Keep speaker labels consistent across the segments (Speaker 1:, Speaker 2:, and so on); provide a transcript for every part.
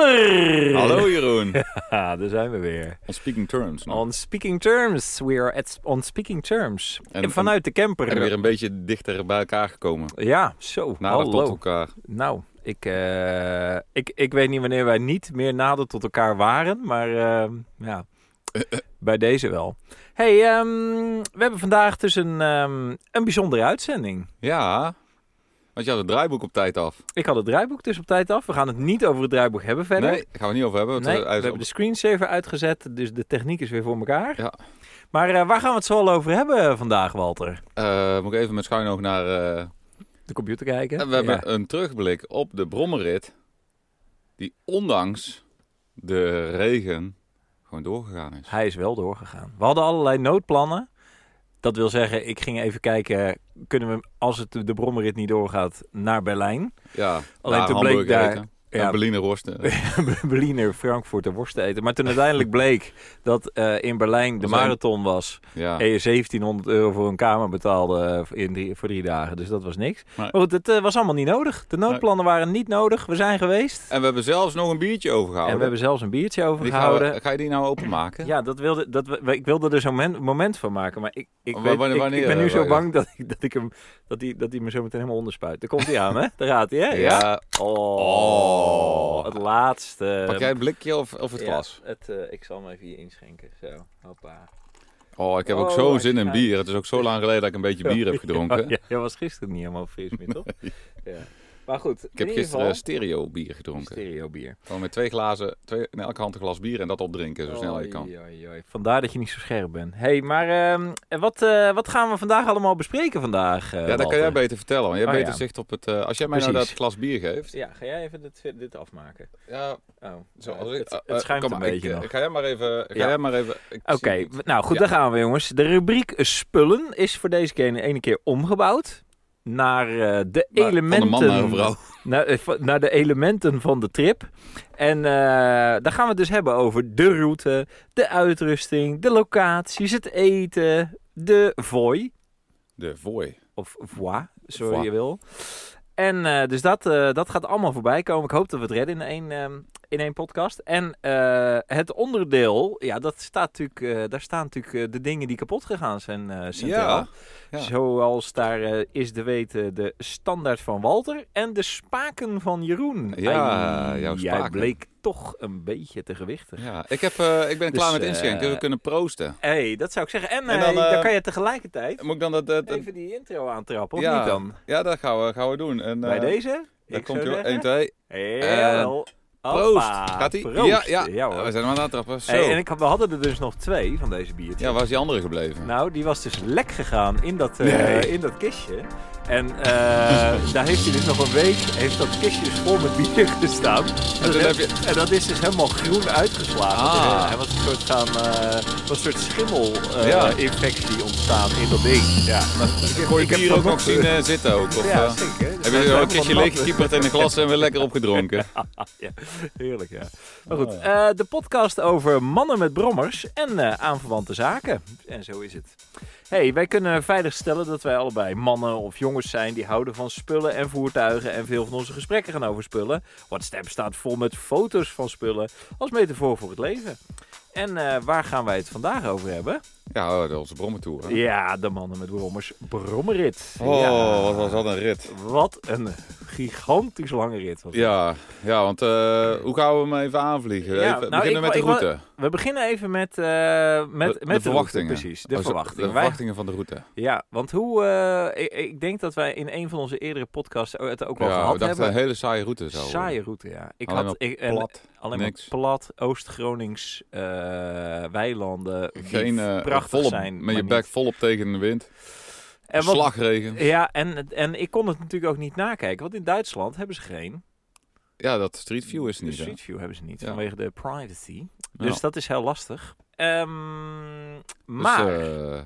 Speaker 1: Walter!
Speaker 2: Hallo Jeroen.
Speaker 1: Ja, daar zijn we weer.
Speaker 2: On speaking terms. Nou.
Speaker 1: On speaking terms. We are at on speaking terms.
Speaker 2: En-
Speaker 1: En, vanuit de
Speaker 2: We zijn weer
Speaker 1: camper.
Speaker 2: een beetje dichter bij elkaar gekomen.
Speaker 1: Ja, zo.
Speaker 2: Nader tot
Speaker 1: hallo.
Speaker 2: elkaar.
Speaker 1: Nou, ik, eh, ik, ik weet niet wanneer wij niet meer nader tot elkaar waren, maar eh, ja, bij deze wel. hey, ehm, we hebben vandaag dus een, ehm, een bijzondere uitzending.
Speaker 2: Ja, want je had het draaiboek op tijd af.
Speaker 1: Ik had het draaiboek dus op tijd af. We gaan het niet over het draaiboek hebben verder.
Speaker 2: Nee, gaan we niet over hebben. want eh,
Speaker 1: Nee,
Speaker 2: we-
Speaker 1: we
Speaker 2: uit-
Speaker 1: hebben de screensaver uitgezet, dus de techniek is weer voor elkaar.
Speaker 2: Ja.
Speaker 1: Maar eh, waar gaan we het zo al over hebben vandaag, Walter?
Speaker 2: Eh, moet ik even met schuin oog naar... eh,
Speaker 1: De computer kijken.
Speaker 2: we hebben een terugblik op de brommerrit. Die ondanks de regen gewoon doorgegaan is.
Speaker 1: Hij is wel doorgegaan. We hadden allerlei noodplannen. Dat wil zeggen, ik ging even kijken, kunnen we, als het de brommerrit niet doorgaat, naar Berlijn?
Speaker 2: Ja,
Speaker 1: Alleen
Speaker 2: daar
Speaker 1: toen bleek
Speaker 2: hamburger
Speaker 1: daar-
Speaker 2: eten.
Speaker 1: ja.
Speaker 2: En Berliner eh, worsten.
Speaker 1: Berliner, Frankfurt en worsten eten. Maar toen uiteindelijk bleek dat eh, in Berlijn de
Speaker 2: Was hij-
Speaker 1: marathon was.
Speaker 2: Ja.
Speaker 1: En je 1700 euro voor een kamer betaalde eh, in drie, voor drie dagen. Dus dat was niks.
Speaker 2: Nee.
Speaker 1: Maar goed, het eh, was allemaal niet nodig. De noodplannen waren niet nodig. We zijn geweest.
Speaker 2: En we hebben zelfs nog een biertje overgehouden.
Speaker 1: En we hebben zelfs een biertje
Speaker 2: Die gaan we-
Speaker 1: overgehouden.
Speaker 2: ga je die nou openmaken?
Speaker 1: Ja, dat wilde, dat, we- we- ik wilde er zo'n moment, moment van maken. Maar ik, ik,
Speaker 2: Maar
Speaker 1: weet-
Speaker 2: wanneer-
Speaker 1: ik-
Speaker 2: wanneer,
Speaker 1: ik ben nu
Speaker 2: eh,
Speaker 1: zo
Speaker 2: wanneer?
Speaker 1: bang dat, ik, dat, ik hem, dat, die, dat die me zo meteen helemaal onderspuit. Daar komt hij aan, hè? Daar gaat hij, hè?
Speaker 2: Ja.
Speaker 1: Oh,
Speaker 2: Oh.
Speaker 1: het laatste.
Speaker 2: Pak jij het blikje of, of het
Speaker 1: Ehm, Ja,
Speaker 2: glas?
Speaker 1: het, eh, ik zal hem even hier inschenken. Zo, hoppa.
Speaker 2: Oh, ik heb ook
Speaker 1: Oh,
Speaker 2: zo'n
Speaker 1: als
Speaker 2: zin in
Speaker 1: je-
Speaker 2: bier. Het is ook zo lang geleden dat ik een beetje bier heb gedronken.
Speaker 1: Oh, ja, jij was gisteren niet helemaal fris meer, toch? Ja. Maar goed,
Speaker 2: Ik heb gisteren stereo bier gedronken.
Speaker 1: stereo bier.
Speaker 2: Gewoon met twee glazen, twee, in elke hand een glas bier en dat opdrinken
Speaker 1: Oh,
Speaker 2: zo snel je kan.
Speaker 1: Vandaar dat je niet zo scherp bent. hey, maar ehm, en wat, eh, wat gaan we vandaag allemaal bespreken vandaag? eh,
Speaker 2: Ja, dat kan
Speaker 1: Walter?
Speaker 2: jij beter vertellen. Want jij
Speaker 1: Oh,
Speaker 2: hebt beter
Speaker 1: ja.
Speaker 2: zicht op het... eh, als jij mij nou
Speaker 1: Precies.
Speaker 2: dat glas bier geeft...
Speaker 1: Ja, ga jij even dit, dit afmaken?
Speaker 2: Ja,
Speaker 1: Oh,
Speaker 2: zo,
Speaker 1: eh,
Speaker 2: als ik,
Speaker 1: het,
Speaker 2: eh,
Speaker 1: het
Speaker 2: eh,
Speaker 1: schuimt
Speaker 2: kom
Speaker 1: een
Speaker 2: maar,
Speaker 1: beetje
Speaker 2: ik, eh,
Speaker 1: nog.
Speaker 2: Ga jij maar even... Ga
Speaker 1: Ja.
Speaker 2: jij maar even... ik
Speaker 1: Oké,
Speaker 2: zie het niet.
Speaker 1: nou goed,
Speaker 2: Ja.
Speaker 1: daar gaan we jongens. De rubriek spullen is voor deze keer de ene keer omgebouwd naar eh, de
Speaker 2: Maar
Speaker 1: elementen.
Speaker 2: Van de man naar de vrouw.
Speaker 1: naar, eh, va- naar de elementen van de trip. En eh, daar gaan we het dus hebben over de route, de uitrusting, de locaties, het eten, de vooi.
Speaker 2: De vooi.
Speaker 1: Of voi, zo
Speaker 2: Voi.
Speaker 1: je wil. En eh, dus dat, eh, dat gaat allemaal voorbij komen. Ik hoop dat we het redden in één, ehm, in één podcast. En eh, het onderdeel, ja, dat staat natuurlijk, eh, daar staan natuurlijk eh, de dingen die kapot gegaan zijn. eh, centraal.
Speaker 2: Ja. ja.
Speaker 1: Zoals daar eh, is te weten de standaard van Walter en de spaken van Jeroen.
Speaker 2: Ja,
Speaker 1: Ai,
Speaker 2: jouw
Speaker 1: Jij
Speaker 2: spaken.
Speaker 1: bleek toch een beetje te gewichtig.
Speaker 2: ja. Ik, heb, eh, ik ben
Speaker 1: Dus,
Speaker 2: klaar met
Speaker 1: eh,
Speaker 2: inschenken. dus we kunnen proosten.
Speaker 1: Hé, dat zou ik zeggen. En,
Speaker 2: En
Speaker 1: eh,
Speaker 2: dan, eh,
Speaker 1: dan kan je tegelijkertijd
Speaker 2: Moet ik dan dat... dat- dat-
Speaker 1: even die intro aantrappen, of
Speaker 2: Ja,
Speaker 1: niet dan?
Speaker 2: ja, dat gaan we, gaan we doen. En,
Speaker 1: Bij
Speaker 2: eh,
Speaker 1: deze?
Speaker 2: Daar
Speaker 1: Ik
Speaker 2: komt
Speaker 1: zou
Speaker 2: je
Speaker 1: zeggen,
Speaker 2: 1, 2...
Speaker 1: Jawel.
Speaker 2: Proost.
Speaker 1: Hoppa,
Speaker 2: Gaat hij?
Speaker 1: proost.
Speaker 2: Ja, ja.
Speaker 1: hoor.
Speaker 2: we zijn hem aan het trappen. Zo.
Speaker 1: Hé, en ik, had- we hadden er dus nog twee van deze biertjes.
Speaker 2: Ja, waar is die andere gebleven?
Speaker 1: Nou, die was dus lek gegaan in dat, eh,
Speaker 2: Nee.
Speaker 1: in dat kistje. En eh, daar heeft hij dus nog een week, heeft dat kistje dus vol met bier gestaan. En,
Speaker 2: toen
Speaker 1: dat,
Speaker 2: heb je-
Speaker 1: en dat is dus helemaal groen uitgeslagen.
Speaker 2: Ah.
Speaker 1: Dus, eh, er was een soort, gaan, eh, was een soort
Speaker 2: Ja.
Speaker 1: schimmelinfectie ontstaan in dat ding. Ja,
Speaker 2: ik gooi
Speaker 1: heb
Speaker 2: je bier
Speaker 1: dat
Speaker 2: ook nog
Speaker 1: nog,
Speaker 2: zien
Speaker 1: eh,
Speaker 2: eh, zitten ook. Of,
Speaker 1: ja
Speaker 2: eh,
Speaker 1: zeker. Dus
Speaker 2: hebben
Speaker 1: dat is
Speaker 2: jullie al een
Speaker 1: helemaal
Speaker 2: kistje
Speaker 1: nat.
Speaker 2: leeggekieperd in een glas en weer lekker opgedronken?
Speaker 1: Ja, heerlijk ja. Maar goed,
Speaker 2: Oh,
Speaker 1: eh, de podcast over mannen met brommers en eh, aanverwante zaken. En zo is het. hey, wij kunnen veilig stellen dat wij allebei mannen of jongens zijn die houden van spullen en voertuigen en veel van onze gesprekken gaan over spullen. WhatsApp staat vol met foto's van spullen als metafoor voor het leven. En eh, waar gaan wij het vandaag over hebben?
Speaker 2: Ja, oh, dat onze brommentour. hè?
Speaker 1: Ja, de mannen met brommers brommerit.
Speaker 2: Oh,
Speaker 1: Ja.
Speaker 2: wat was dat een rit.
Speaker 1: Wat een gigantisch lange rit. was
Speaker 2: Ja, ja want eh, hoe gaan we hem even aanvliegen?
Speaker 1: Ja,
Speaker 2: even,
Speaker 1: nou, ik
Speaker 2: beginnen met de
Speaker 1: wou- ik wou-
Speaker 2: route.
Speaker 1: We beginnen even met, eh, met,
Speaker 2: De- de
Speaker 1: met route,
Speaker 2: verwachtingen.
Speaker 1: precies,
Speaker 2: Oh,
Speaker 1: de
Speaker 2: zo-
Speaker 1: verwachtingen.
Speaker 2: De
Speaker 1: Wij-
Speaker 2: verwachtingen van de route.
Speaker 1: ja, want hoe... eh, ik, ik denk dat wij in een van onze eerdere podcasts het ook wel
Speaker 2: Ja, we
Speaker 1: gehad
Speaker 2: dachten een
Speaker 1: hebben.
Speaker 2: hele saaie route zo.
Speaker 1: Saaie route, ja. Ik
Speaker 2: Alleen
Speaker 1: had,
Speaker 2: maar
Speaker 1: ik, en-
Speaker 2: plat,
Speaker 1: alleen maar
Speaker 2: niks.
Speaker 1: plat, Oost-Gronings eh, weilanden. die
Speaker 2: Geen eh,
Speaker 1: prachtig
Speaker 2: volop,
Speaker 1: zijn.
Speaker 2: met je
Speaker 1: maar
Speaker 2: bek
Speaker 1: niet.
Speaker 2: volop tegen de wind.
Speaker 1: En wat-
Speaker 2: Slagregen.
Speaker 1: Ja, en, en ik kon het natuurlijk ook niet nakijken, want in Duitsland hebben ze geen.
Speaker 2: Ja, dat Street View is
Speaker 1: De
Speaker 2: niet. hè?
Speaker 1: Street View hebben ze niet,
Speaker 2: Ja.
Speaker 1: vanwege de privacy.
Speaker 2: Ja.
Speaker 1: Dus dat is heel lastig. Ehm,
Speaker 2: Dus,
Speaker 1: maar...
Speaker 2: eh,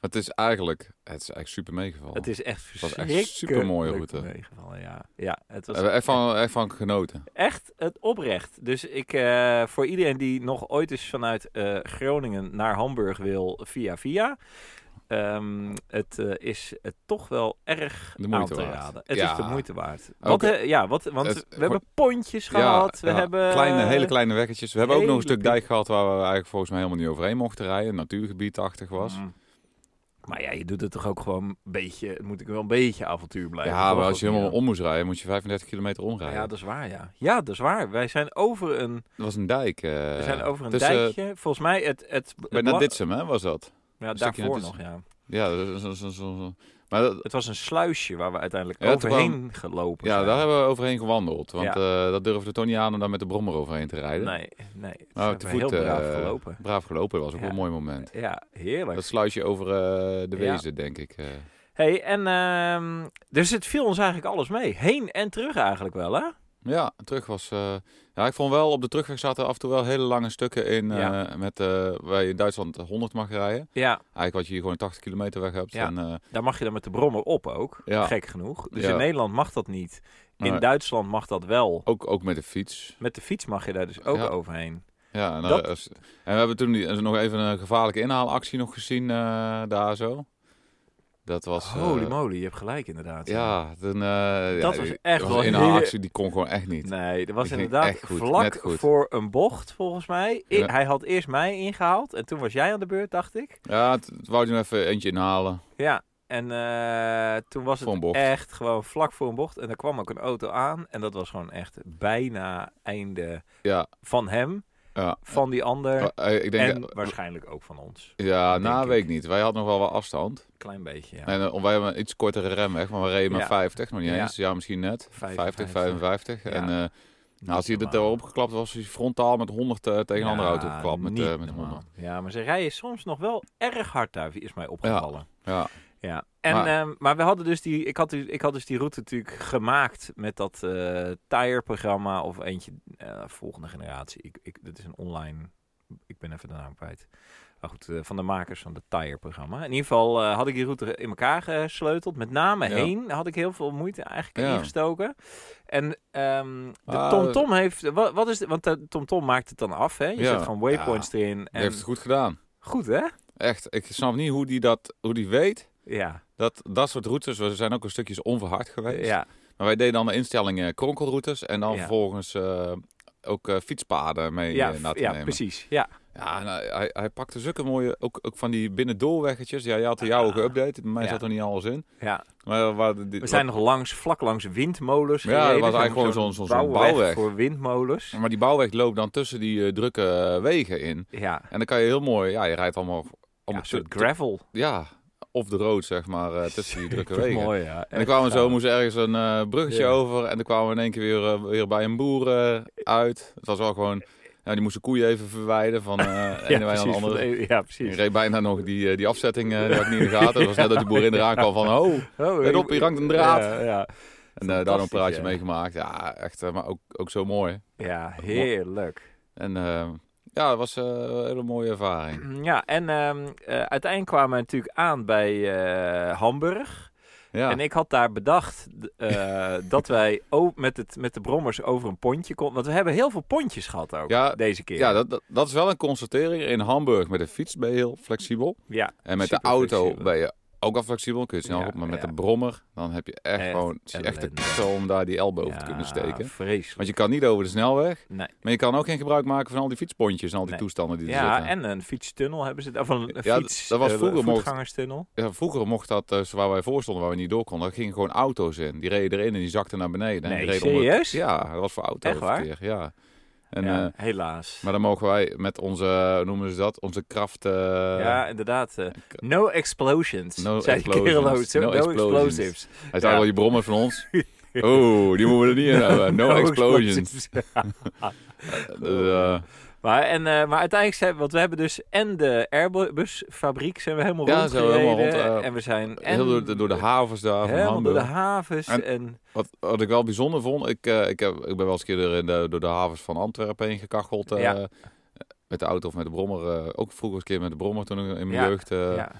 Speaker 2: het is eigenlijk, het is eigenlijk super meegevallen.
Speaker 1: Het is echt
Speaker 2: Oh. was echt
Speaker 1: verschrikkelijk.
Speaker 2: supermooie route.
Speaker 1: meegevallen, ja. Ja, het
Speaker 2: We
Speaker 1: was
Speaker 2: hebben echt van, echt van genoten.
Speaker 1: echt het oprecht. Dus ik, eh, voor iedereen die nog ooit eens vanuit eh, Groningen naar Hamburg wil, via via. ehm, het eh, is eh, toch wel erg
Speaker 2: De moeite
Speaker 1: aan te
Speaker 2: waard.
Speaker 1: raden. Het
Speaker 2: Ja.
Speaker 1: is de moeite waard.
Speaker 2: Oké.
Speaker 1: Wat, eh, ja, wat, want
Speaker 2: Het-
Speaker 1: we hebben pontjes gehad. We
Speaker 2: ja.
Speaker 1: hebben...
Speaker 2: Kleine, hele kleine weggetjes. We hebben ook nog een
Speaker 1: Eh, hele
Speaker 2: stuk dijk gehad waar we eigenlijk volgens mij helemaal niet overheen mochten rijden. Natuurgebiedachtig was.
Speaker 1: Mm. Maar ja, je doet het toch ook gewoon een beetje... het Moet ik wel een beetje avontuur blijven.
Speaker 2: ja,
Speaker 1: toch?
Speaker 2: maar als je
Speaker 1: Ook,
Speaker 2: helemaal
Speaker 1: ja.
Speaker 2: om moest rijden, moet je 35 kilometer
Speaker 1: Ja,
Speaker 2: omrijden.
Speaker 1: ja, dat is waar, ja. Ja, dat is waar. Wij zijn over een,
Speaker 2: dat was een dijk. eh,
Speaker 1: we zijn over een
Speaker 2: tussen-
Speaker 1: dijkje. Volgens mij het... het, het
Speaker 2: Bijna
Speaker 1: bela-
Speaker 2: Ditsem, hè, was dat?
Speaker 1: Ja,
Speaker 2: stukje naar
Speaker 1: daarvoor nog,
Speaker 2: Ditsem.
Speaker 1: ja.
Speaker 2: Ja, dat is- dat is- dat is- dat is- maar dat-
Speaker 1: Het was een sluisje waar we uiteindelijk
Speaker 2: Ja, het
Speaker 1: overheen gelopen
Speaker 2: ja,
Speaker 1: zijn.
Speaker 2: daar hebben we overheen gewandeld. Want eh, dat durfde toch niet aan om daar met de brommer overheen te rijden.
Speaker 1: Nee, nee. Dus
Speaker 2: Maar
Speaker 1: hebben
Speaker 2: te
Speaker 1: we
Speaker 2: voet,
Speaker 1: heel braaf
Speaker 2: eh,
Speaker 1: gelopen.
Speaker 2: Braaf gelopen was ook
Speaker 1: Ja.
Speaker 2: wel een mooi moment.
Speaker 1: Ja, heerlijk.
Speaker 2: Dat sluitje over eh, de
Speaker 1: Ja.
Speaker 2: wezen, denk ik. eh.
Speaker 1: hey, en ehm, dus het viel ons eigenlijk alles mee. Heen en terug eigenlijk wel, hè?
Speaker 2: Ja, terug was. eh, ja, ik vond wel op de terugweg zaten af en toe wel hele lange stukken in. eh,
Speaker 1: Ja. met,
Speaker 2: eh, waar je in Duitsland 100 mag rijden.
Speaker 1: Ja,
Speaker 2: Eigenlijk wat je hier gewoon 80 kilometer weg hebt.
Speaker 1: Ja.
Speaker 2: En, eh,
Speaker 1: daar mag je dan met de brommer op ook.
Speaker 2: Ja.
Speaker 1: Gek genoeg. Dus
Speaker 2: Ja.
Speaker 1: in Nederland mag dat niet. In
Speaker 2: maar
Speaker 1: Duitsland mag dat wel.
Speaker 2: ook, ook met de fiets.
Speaker 1: Met de fiets mag je daar dus ook
Speaker 2: Ja.
Speaker 1: overheen.
Speaker 2: Ja, en, eh,
Speaker 1: Dat-
Speaker 2: als- en we hebben toen die, nog even een gevaarlijke inhaalactie nog gezien eh, daar zo. Dat was. eh,
Speaker 1: Holy moly, je hebt gelijk inderdaad.
Speaker 2: Ja, toen, eh,
Speaker 1: Dat
Speaker 2: ja,
Speaker 1: was
Speaker 2: die-
Speaker 1: echt
Speaker 2: was
Speaker 1: wel
Speaker 2: een
Speaker 1: heel-
Speaker 2: inhaalactie die kon gewoon echt niet.
Speaker 1: Nee, dat was
Speaker 2: Die ging
Speaker 1: inderdaad
Speaker 2: echt goed,
Speaker 1: vlak
Speaker 2: net goed.
Speaker 1: voor een bocht, volgens mij. I-
Speaker 2: Ja.
Speaker 1: Hij had eerst mij ingehaald en toen was jij aan de beurt, dacht ik.
Speaker 2: Ja, t- t- wou je nog even eentje inhalen.
Speaker 1: Ja, en eh, toen was
Speaker 2: Voor een
Speaker 1: het
Speaker 2: bocht.
Speaker 1: echt gewoon vlak voor een bocht. En daar kwam ook een auto aan. En dat was gewoon echt bijna einde
Speaker 2: Ja,
Speaker 1: van hem,
Speaker 2: ja.
Speaker 1: van die ander
Speaker 2: Eh, ik denk.
Speaker 1: en waarschijnlijk ook van ons.
Speaker 2: ja,
Speaker 1: denk
Speaker 2: na
Speaker 1: ik.
Speaker 2: weet ik niet. Wij hadden nog wel wat afstand.
Speaker 1: Klein beetje, ja.
Speaker 2: En eh, wij hebben een iets kortere remweg, maar we reden met
Speaker 1: Ja.
Speaker 2: 50, nog niet
Speaker 1: Ja.
Speaker 2: eens. Ja, misschien net.
Speaker 1: 55.
Speaker 2: 50, 55. En eh,
Speaker 1: Niet
Speaker 2: nou, als hij
Speaker 1: normaal.
Speaker 2: het erop geklapt was, hij frontaal met 100 eh, tegen een andere auto
Speaker 1: Ja,
Speaker 2: geklapt. Met,
Speaker 1: niet
Speaker 2: eh met
Speaker 1: normaal.
Speaker 2: 100.
Speaker 1: Ja, maar ze rijden soms nog wel erg hard daar, is mij opgevallen.
Speaker 2: Ja,
Speaker 1: Ja. En, ehm,
Speaker 2: Maar-
Speaker 1: maar, we hadden dus die, ik had, dus- ik had dus die route natuurlijk gemaakt met dat eh tire-programma of eentje eh, volgende generatie. Ik, ik, dit is een online, ik ben even de naam kwijt. Maar goed, eh, van de makers van het tire-programma. In ieder geval eh, had ik die route in elkaar gesleuteld. Met name
Speaker 2: Ja.
Speaker 1: heen had ik heel veel moeite eigenlijk
Speaker 2: Ja.
Speaker 1: ingestoken. En ehm, de
Speaker 2: Ah,
Speaker 1: TomTom heeft, wat, wat is, het- want de TomTom maakt het dan af, hè? Je
Speaker 2: Ja.
Speaker 1: zet gewoon waypoints erin.
Speaker 2: hij
Speaker 1: En,
Speaker 2: heeft het goed gedaan.
Speaker 1: Goed, hè?
Speaker 2: Echt, ik snap niet hoe die, dat, hoe die weet
Speaker 1: Ja,
Speaker 2: dat dat soort routes, we zijn ook een stukjes onverhard geweest.
Speaker 1: ja.
Speaker 2: Maar wij deden dan de instelling eh, kronkelroutes en dan
Speaker 1: Ja.
Speaker 2: vervolgens eh, ook eh, fietspaden mee
Speaker 1: Ja,
Speaker 2: eh, na te
Speaker 1: ja
Speaker 2: nemen.
Speaker 1: precies. Ja,
Speaker 2: Ja, en hij- hij, hij pakte zulke mooie, ook, ook van die binnendoorweggetjes. Ja, jij had de jouwe
Speaker 1: Ah.
Speaker 2: geüpdate, bij mij
Speaker 1: Ja.
Speaker 2: zat er niet alles in.
Speaker 1: ja.
Speaker 2: Maar waar de- die-
Speaker 1: We zijn nog langs, vlak langs windmolens
Speaker 2: Ja, dat was
Speaker 1: gereden.
Speaker 2: eigenlijk gewoon zo'n- zo'n- zo'n bouwweg.
Speaker 1: voor windmolens.
Speaker 2: Maar die bouwweg loopt dan tussen die eh, drukke eh, wegen in.
Speaker 1: Ja,
Speaker 2: En dan kan je heel mooi, ja, je rijdt allemaal
Speaker 1: ja,
Speaker 2: allemaal
Speaker 1: een soort
Speaker 2: tu-
Speaker 1: gravel.
Speaker 2: tu- ja, of de road, zeg maar, eh, tussen die drukke wegen.
Speaker 1: Mooi, ja.
Speaker 2: En dan kwamen we zo,
Speaker 1: Echt,
Speaker 2: moest ergens een eh, bruggetje
Speaker 1: Ja.
Speaker 2: over. En dan kwamen we in één keer weer, eh, weer bij een boer eh, uit. Het was wel gewoon, ja, die moesten koeien even verwijderen van eh
Speaker 1: ja,
Speaker 2: ene wij
Speaker 1: precies,
Speaker 2: aan de
Speaker 1: van
Speaker 2: andere.
Speaker 1: de- Ja,
Speaker 2: Ik
Speaker 1: precies.
Speaker 2: reed bijna nog die, eh, die afzetting, eh, die had ik niet in de gaten. Het was net dat die boer in de raak kwam van, oh.
Speaker 1: Oh,
Speaker 2: Let
Speaker 1: ik-
Speaker 2: op, hier hangt een draad.
Speaker 1: Ja, ja.
Speaker 2: En eh, daar een praatje
Speaker 1: ja.
Speaker 2: meegemaakt. Ja, echt, eh, maar ook, ook zo mooi.
Speaker 1: Ja, heerlijk.
Speaker 2: En eh, ja, het was eh, een hele mooie ervaring.
Speaker 1: Ja, en ehm, eh, uiteindelijk kwamen we natuurlijk aan bij eh, Hamburg.
Speaker 2: Ja.
Speaker 1: En ik had daar bedacht d- eh, dat wij ook met, het, met de brommers over een pontje konden. Want we hebben heel veel pontjes gehad ook
Speaker 2: Ja,
Speaker 1: deze keer.
Speaker 2: Ja, dat, dat, dat is wel een constatering. In Hamburg met de fiets ben je heel flexibel.
Speaker 1: ja,
Speaker 2: En met
Speaker 1: Super
Speaker 2: de auto
Speaker 1: flexibel.
Speaker 2: ben je ook al flexibel. Kun je snel
Speaker 1: Ja,
Speaker 2: op. Maar met
Speaker 1: ja.
Speaker 2: de brommer, dan heb je echt,
Speaker 1: Echt
Speaker 2: gewoon het is echt de
Speaker 1: ellende.
Speaker 2: kuttel om daar die elleboog te
Speaker 1: Ja,
Speaker 2: kunnen steken.
Speaker 1: Vreselijk.
Speaker 2: Want je kan niet over de snelweg.
Speaker 1: Nee.
Speaker 2: Maar je kan ook geen gebruik maken van al die fietspontjes en al die
Speaker 1: Nee.
Speaker 2: toestanden die er
Speaker 1: Ja,
Speaker 2: zitten.
Speaker 1: en een fietstunnel hebben ze. Of een, een
Speaker 2: dus Ja,
Speaker 1: fiets,
Speaker 2: dat was
Speaker 1: eh,
Speaker 2: vroeger mocht-
Speaker 1: voetgangerstunnel.
Speaker 2: Ja, vroeger mocht dat, eh, waar wij voor stonden, waar we niet door konden, daar gingen gewoon auto's in. Die reden erin en die zakten naar beneden. en
Speaker 1: Nee,
Speaker 2: die reden onder-
Speaker 1: serieus?
Speaker 2: Ja, dat was voor autoverkeer. Ja. En,
Speaker 1: ja,
Speaker 2: eh,
Speaker 1: helaas.
Speaker 2: maar dan mogen wij met onze, hoe noemen ze dat, onze kracht... eh,
Speaker 1: ja, inderdaad. eh, no explosions,
Speaker 2: No
Speaker 1: zei
Speaker 2: explosions.
Speaker 1: Kerel ook zo,
Speaker 2: No
Speaker 1: No,
Speaker 2: explosions.
Speaker 1: explosives.
Speaker 2: Hij
Speaker 1: Ja.
Speaker 2: zei wel, je brommen van ons. Oh, die moeten we er niet in hebben. No,
Speaker 1: Oh,
Speaker 2: explosions. Dus, eh,
Speaker 1: maar, en, eh, maar uiteindelijk zijn want we hebben dus en de Airbus fabriek zijn we helemaal
Speaker 2: Ja, zijn we
Speaker 1: rondgereden.
Speaker 2: helemaal rond, eh,
Speaker 1: en we zijn en
Speaker 2: heel door, de- door de havens daar van
Speaker 1: helemaal door de
Speaker 2: Hamburg.
Speaker 1: havens. En,
Speaker 2: En- Wat, wat ik wel bijzonder vond, ik, eh, ik, heb, ik ben wel eens een keer door de, door de havens van Antwerpen heen gekacheld. eh,
Speaker 1: Ja.
Speaker 2: Met de auto of met de brommer. eh, ook vroeger een keer met de brommer toen ik in mijn
Speaker 1: Ja,
Speaker 2: jeugd. eh,
Speaker 1: ja.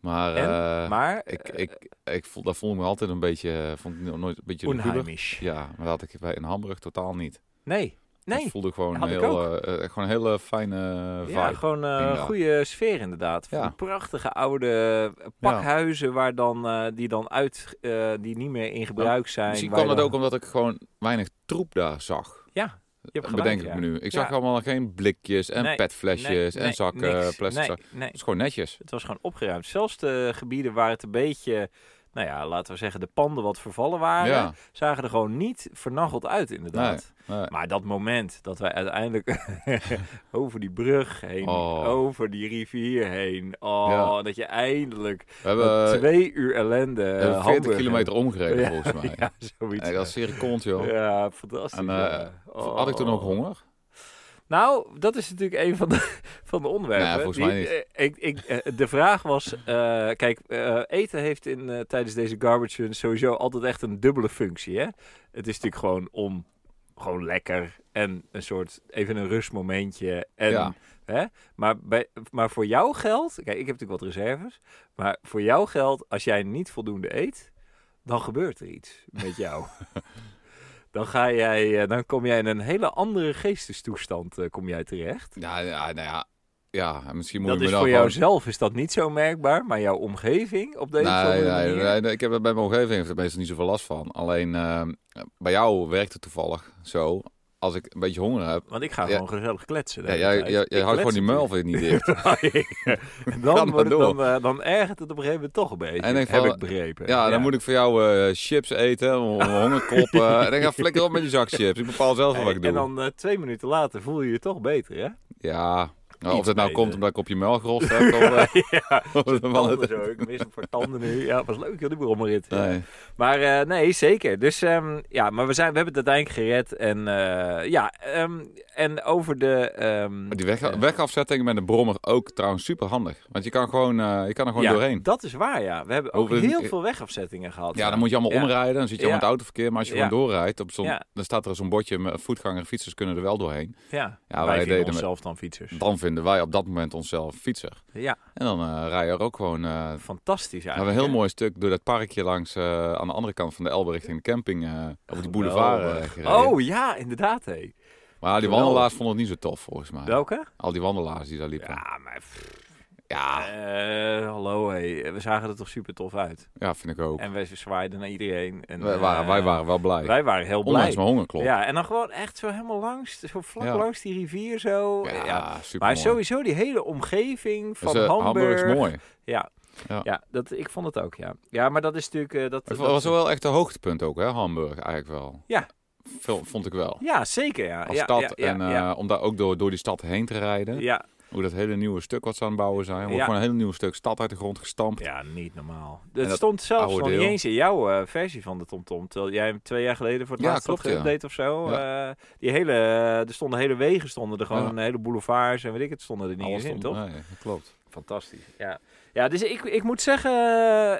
Speaker 2: Maar,
Speaker 1: En?
Speaker 2: eh,
Speaker 1: maar
Speaker 2: ik,
Speaker 1: eh,
Speaker 2: ik, ik voel, dat voelde me altijd een beetje, eh, vond ik nooit een beetje luguber.
Speaker 1: onheimisch.
Speaker 2: Ja, maar dat had ik bij in Hamburg totaal niet.
Speaker 1: Nee.
Speaker 2: Dat
Speaker 1: Nee,
Speaker 2: voelde gewoon
Speaker 1: had
Speaker 2: een,
Speaker 1: ik
Speaker 2: heel, eh, eh, gewoon een hele fijne vibe.
Speaker 1: ja, gewoon eh, een
Speaker 2: inderdaad.
Speaker 1: goede sfeer inderdaad. Van
Speaker 2: Ja.
Speaker 1: die Prachtige oude eh, pakhuizen waar dan, eh, die dan uit, eh, die niet meer in gebruik zijn.
Speaker 2: Misschien
Speaker 1: waar
Speaker 2: kwam dat
Speaker 1: dan-
Speaker 2: ook omdat ik gewoon weinig troep daar zag.
Speaker 1: Ja, je hebt gelijk,
Speaker 2: bedenk
Speaker 1: ja.
Speaker 2: ik me nu. Ik
Speaker 1: Ja.
Speaker 2: zag allemaal geen blikjes en
Speaker 1: Nee,
Speaker 2: petflesjes
Speaker 1: Nee,
Speaker 2: en
Speaker 1: nee,
Speaker 2: zakken, eh,
Speaker 1: niks.
Speaker 2: plastic
Speaker 1: nee,
Speaker 2: zakken.
Speaker 1: nee,
Speaker 2: Het is gewoon netjes.
Speaker 1: Het was gewoon opgeruimd. Zelfs de gebieden waar het een beetje, nou ja, laten we zeggen, de panden wat vervallen waren,
Speaker 2: Ja.
Speaker 1: zagen er gewoon niet vernacheld uit, inderdaad.
Speaker 2: Nee.
Speaker 1: Maar dat moment dat wij uiteindelijk over die brug heen,
Speaker 2: Oh.
Speaker 1: over die rivier heen, oh,
Speaker 2: Ja.
Speaker 1: dat je eindelijk
Speaker 2: We hebben,
Speaker 1: na twee uur ellende
Speaker 2: we
Speaker 1: eh,
Speaker 2: hebben 40
Speaker 1: Hamburg-
Speaker 2: kilometer omgereden
Speaker 1: Ja,
Speaker 2: volgens mij.
Speaker 1: Ja, zoiets.
Speaker 2: En dat is zeer kont, joh.
Speaker 1: Ja, fantastisch.
Speaker 2: En,
Speaker 1: ja.
Speaker 2: eh, Had ik toen ook
Speaker 1: Oh.
Speaker 2: honger?
Speaker 1: Nou, dat is natuurlijk een van de, van de onderwerpen.
Speaker 2: Nou ja, volgens mij niet.
Speaker 1: eh, Ik, ik, eh, de vraag was, eh, kijk, eh, eten heeft in, eh, tijdens deze garbage run sowieso altijd echt een dubbele functie. Hè? Het is natuurlijk gewoon om, gewoon lekker en een soort, even een rustmomentje. En,
Speaker 2: Ja.
Speaker 1: hè? Maar, bij, maar voor jouw geld, kijk, ik heb natuurlijk wat reserves. Maar voor jouw geld, als jij niet voldoende eet, dan gebeurt er iets met jou. Dan, ga jij, eh, dan kom jij in een hele andere geestestoestand eh, kom jij terecht.
Speaker 2: Ja, ja, nou ja. Ja, misschien moet
Speaker 1: Dat
Speaker 2: ik me
Speaker 1: is
Speaker 2: dan
Speaker 1: voor
Speaker 2: gewoon-
Speaker 1: jouzelf is dat niet zo merkbaar, maar jouw omgeving op deze
Speaker 2: Nee,
Speaker 1: andere
Speaker 2: nee,
Speaker 1: manier...
Speaker 2: nee, nee, ik heb er bij mijn omgeving heeft er meestal niet zoveel last van. Alleen ehm, bij jou werkt het toevallig zo. Als ik een beetje honger heb,
Speaker 1: Want ik ga
Speaker 2: Ja.
Speaker 1: gewoon gezellig kletsen. de
Speaker 2: ja,
Speaker 1: hele
Speaker 2: jij,
Speaker 1: tijd.
Speaker 2: jij,
Speaker 1: Ik
Speaker 2: jij houdt gewoon
Speaker 1: klets
Speaker 2: die muil weer niet dicht.
Speaker 1: natuurlijk.
Speaker 2: Ga
Speaker 1: dan,
Speaker 2: maar
Speaker 1: wordt het,
Speaker 2: door.
Speaker 1: dan, eh, dan ergert het op een gegeven moment toch een beetje.
Speaker 2: En ik
Speaker 1: heb
Speaker 2: val-
Speaker 1: ik begrepen.
Speaker 2: Ja, dan moet ik voor jou eh, chips eten, om- om honger kloppen. en dan ga flikker op met die zak chips. Ik bepaal zelf wel wat ik doe.
Speaker 1: En dan eh, twee minuten later voel je je toch beter, hè?
Speaker 2: Ja, nou, of
Speaker 1: Iets
Speaker 2: dat nou
Speaker 1: beter.
Speaker 2: komt omdat ik op je muil gerost heb. Of, eh,
Speaker 1: ja,
Speaker 2: of wat dan ook.
Speaker 1: tanden zo. Ik mis hem voor tanden nu. Ja, was leuk, joh, die brommerit. Ja.
Speaker 2: Nee.
Speaker 1: Maar eh, nee, zeker. Dus ehm, ja, maar we, zijn, we hebben het uiteindelijk gered. En eh, ja, ehm, en over de... ehm,
Speaker 2: Die weg,
Speaker 1: eh,
Speaker 2: wegafzetting met een brommer ook trouwens super handig. Want je kan, gewoon, eh, je kan er gewoon
Speaker 1: ja,
Speaker 2: doorheen.
Speaker 1: dat is waar, ja. We hebben ook
Speaker 2: Over-
Speaker 1: heel veel wegafzettingen gehad.
Speaker 2: Ja, dan moet je allemaal
Speaker 1: Ja.
Speaker 2: omrijden. Dan zit je al
Speaker 1: Ja.
Speaker 2: in het autoverkeer. Maar als je
Speaker 1: Ja.
Speaker 2: gewoon doorrijdt, op zo'n,
Speaker 1: Ja.
Speaker 2: dan staat er zo'n bordje. met Voetgangers en fietsers kunnen er wel doorheen.
Speaker 1: Ja,
Speaker 2: Ja, wij
Speaker 1: wij vinden
Speaker 2: deden met-
Speaker 1: onszelf dan fietsers.
Speaker 2: Dan vinden wij op dat moment onszelf fietser.
Speaker 1: Ja,
Speaker 2: En dan eh rij je er ook gewoon... eh
Speaker 1: fantastisch
Speaker 2: we hebben
Speaker 1: eigenlijk.
Speaker 2: een heel
Speaker 1: hè?
Speaker 2: mooi stuk door dat parkje langs eh, aan de andere kant van de Elbe richting de camping. eh over die boulevard eh,
Speaker 1: Geweldig.
Speaker 2: gereden.
Speaker 1: Oh ja, inderdaad, hé.
Speaker 2: maar die wandelaars vonden het niet zo tof volgens mij.
Speaker 1: Welke?
Speaker 2: Al die wandelaars die daar liepen. Ja, Ah.
Speaker 1: Ja, maar... pff,
Speaker 2: ja,
Speaker 1: eh, hallo, hé. We zagen er toch super tof uit.
Speaker 2: vind ik ook.
Speaker 1: En wij zwaaiden naar iedereen. En,
Speaker 2: wij, waren,
Speaker 1: eh,
Speaker 2: wij waren wel blij.
Speaker 1: wij waren heel blij.
Speaker 2: Ondanks mijn hongerklop.
Speaker 1: Ja, en dan gewoon echt zo helemaal langs, zo vlak
Speaker 2: Ja.
Speaker 1: langs die rivier zo. Ja,
Speaker 2: super
Speaker 1: Maar sowieso die hele omgeving van
Speaker 2: dus, eh,
Speaker 1: Hamburg.
Speaker 2: Hamburg is mooi.
Speaker 1: Ja, ja.
Speaker 2: Ja.
Speaker 1: dat, ik vond het ook, ja. Ja, maar dat is natuurlijk... eh, dat,
Speaker 2: Het
Speaker 1: dat-
Speaker 2: was wel echt een hoogtepunt ook, hè, Hamburg eigenlijk wel.
Speaker 1: Ja.
Speaker 2: Vo- Vond ik wel.
Speaker 1: Ja, zeker, ja.
Speaker 2: Als
Speaker 1: ja,
Speaker 2: stad.
Speaker 1: ja, ja,
Speaker 2: en eh,
Speaker 1: ja,
Speaker 2: om daar ook door, door die stad heen te rijden.
Speaker 1: ja,
Speaker 2: Hoe dat hele nieuwe stuk wat ze aan het bouwen zijn. Wordt
Speaker 1: Ja.
Speaker 2: gewoon een heel nieuw stuk stad uit de grond gestampt.
Speaker 1: ja, niet normaal.
Speaker 2: En
Speaker 1: Het
Speaker 2: dat
Speaker 1: stond zelfs
Speaker 2: oude
Speaker 1: nog niet
Speaker 2: deel.
Speaker 1: eens in jouw eh, versie van de TomTom. Terwijl jij hem twee jaar geleden voor het
Speaker 2: Ja,
Speaker 1: laatst had
Speaker 2: klopt, ja.
Speaker 1: geüpdate of zo. eh, die hele, eh, er stonden hele wegen, stonden er gewoon
Speaker 2: Ja.
Speaker 1: een hele boulevards en weet ik het, stonden er niet
Speaker 2: Alles
Speaker 1: eens in,
Speaker 2: stond-
Speaker 1: toch?
Speaker 2: Nee, dat klopt.
Speaker 1: Fantastisch. Ja, ja dus ik, ik moet zeggen,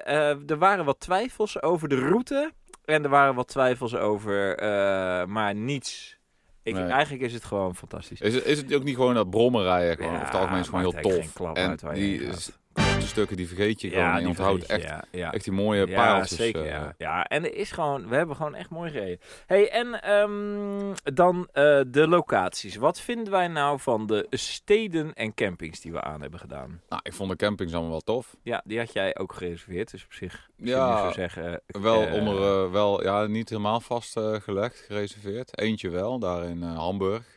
Speaker 1: eh, eh, er waren wat twijfels over de route. En er waren wat twijfels over, eh, maar niets. Ik,
Speaker 2: Nee.
Speaker 1: Eigenlijk is het gewoon fantastisch.
Speaker 2: Is, het- is het ook niet gewoon dat brommen rijden gewoon,
Speaker 1: Ja,
Speaker 2: over het algemeen is gewoon
Speaker 1: maakt
Speaker 2: heel
Speaker 1: eigenlijk
Speaker 2: tof.
Speaker 1: geen klap
Speaker 2: en
Speaker 1: uit waar je
Speaker 2: die
Speaker 1: heen
Speaker 2: is- de stukken die vergeet je gewoon. en je
Speaker 1: die
Speaker 2: onthoudt
Speaker 1: vergeet
Speaker 2: echt,
Speaker 1: je, ja, ja.
Speaker 2: echt die mooie
Speaker 1: Ja,
Speaker 2: pareltjes.
Speaker 1: zeker.
Speaker 2: eh,
Speaker 1: ja. ja, en er is gewoon, we hebben gewoon echt mooi gereden. Hey, en ehm, dan eh, de locaties. Wat vinden wij nou van de steden en campings die we aan hebben gedaan?
Speaker 2: Nou, ik vond de campings allemaal wel tof.
Speaker 1: Ja, die had jij ook gereserveerd, dus op zich ja,
Speaker 2: Ja,
Speaker 1: zo zeggen. eh,
Speaker 2: Wel
Speaker 1: eh,
Speaker 2: onder, eh, wel, ja, niet helemaal vastgelegd, gereserveerd. Eentje wel, daar in eh, Hamburg.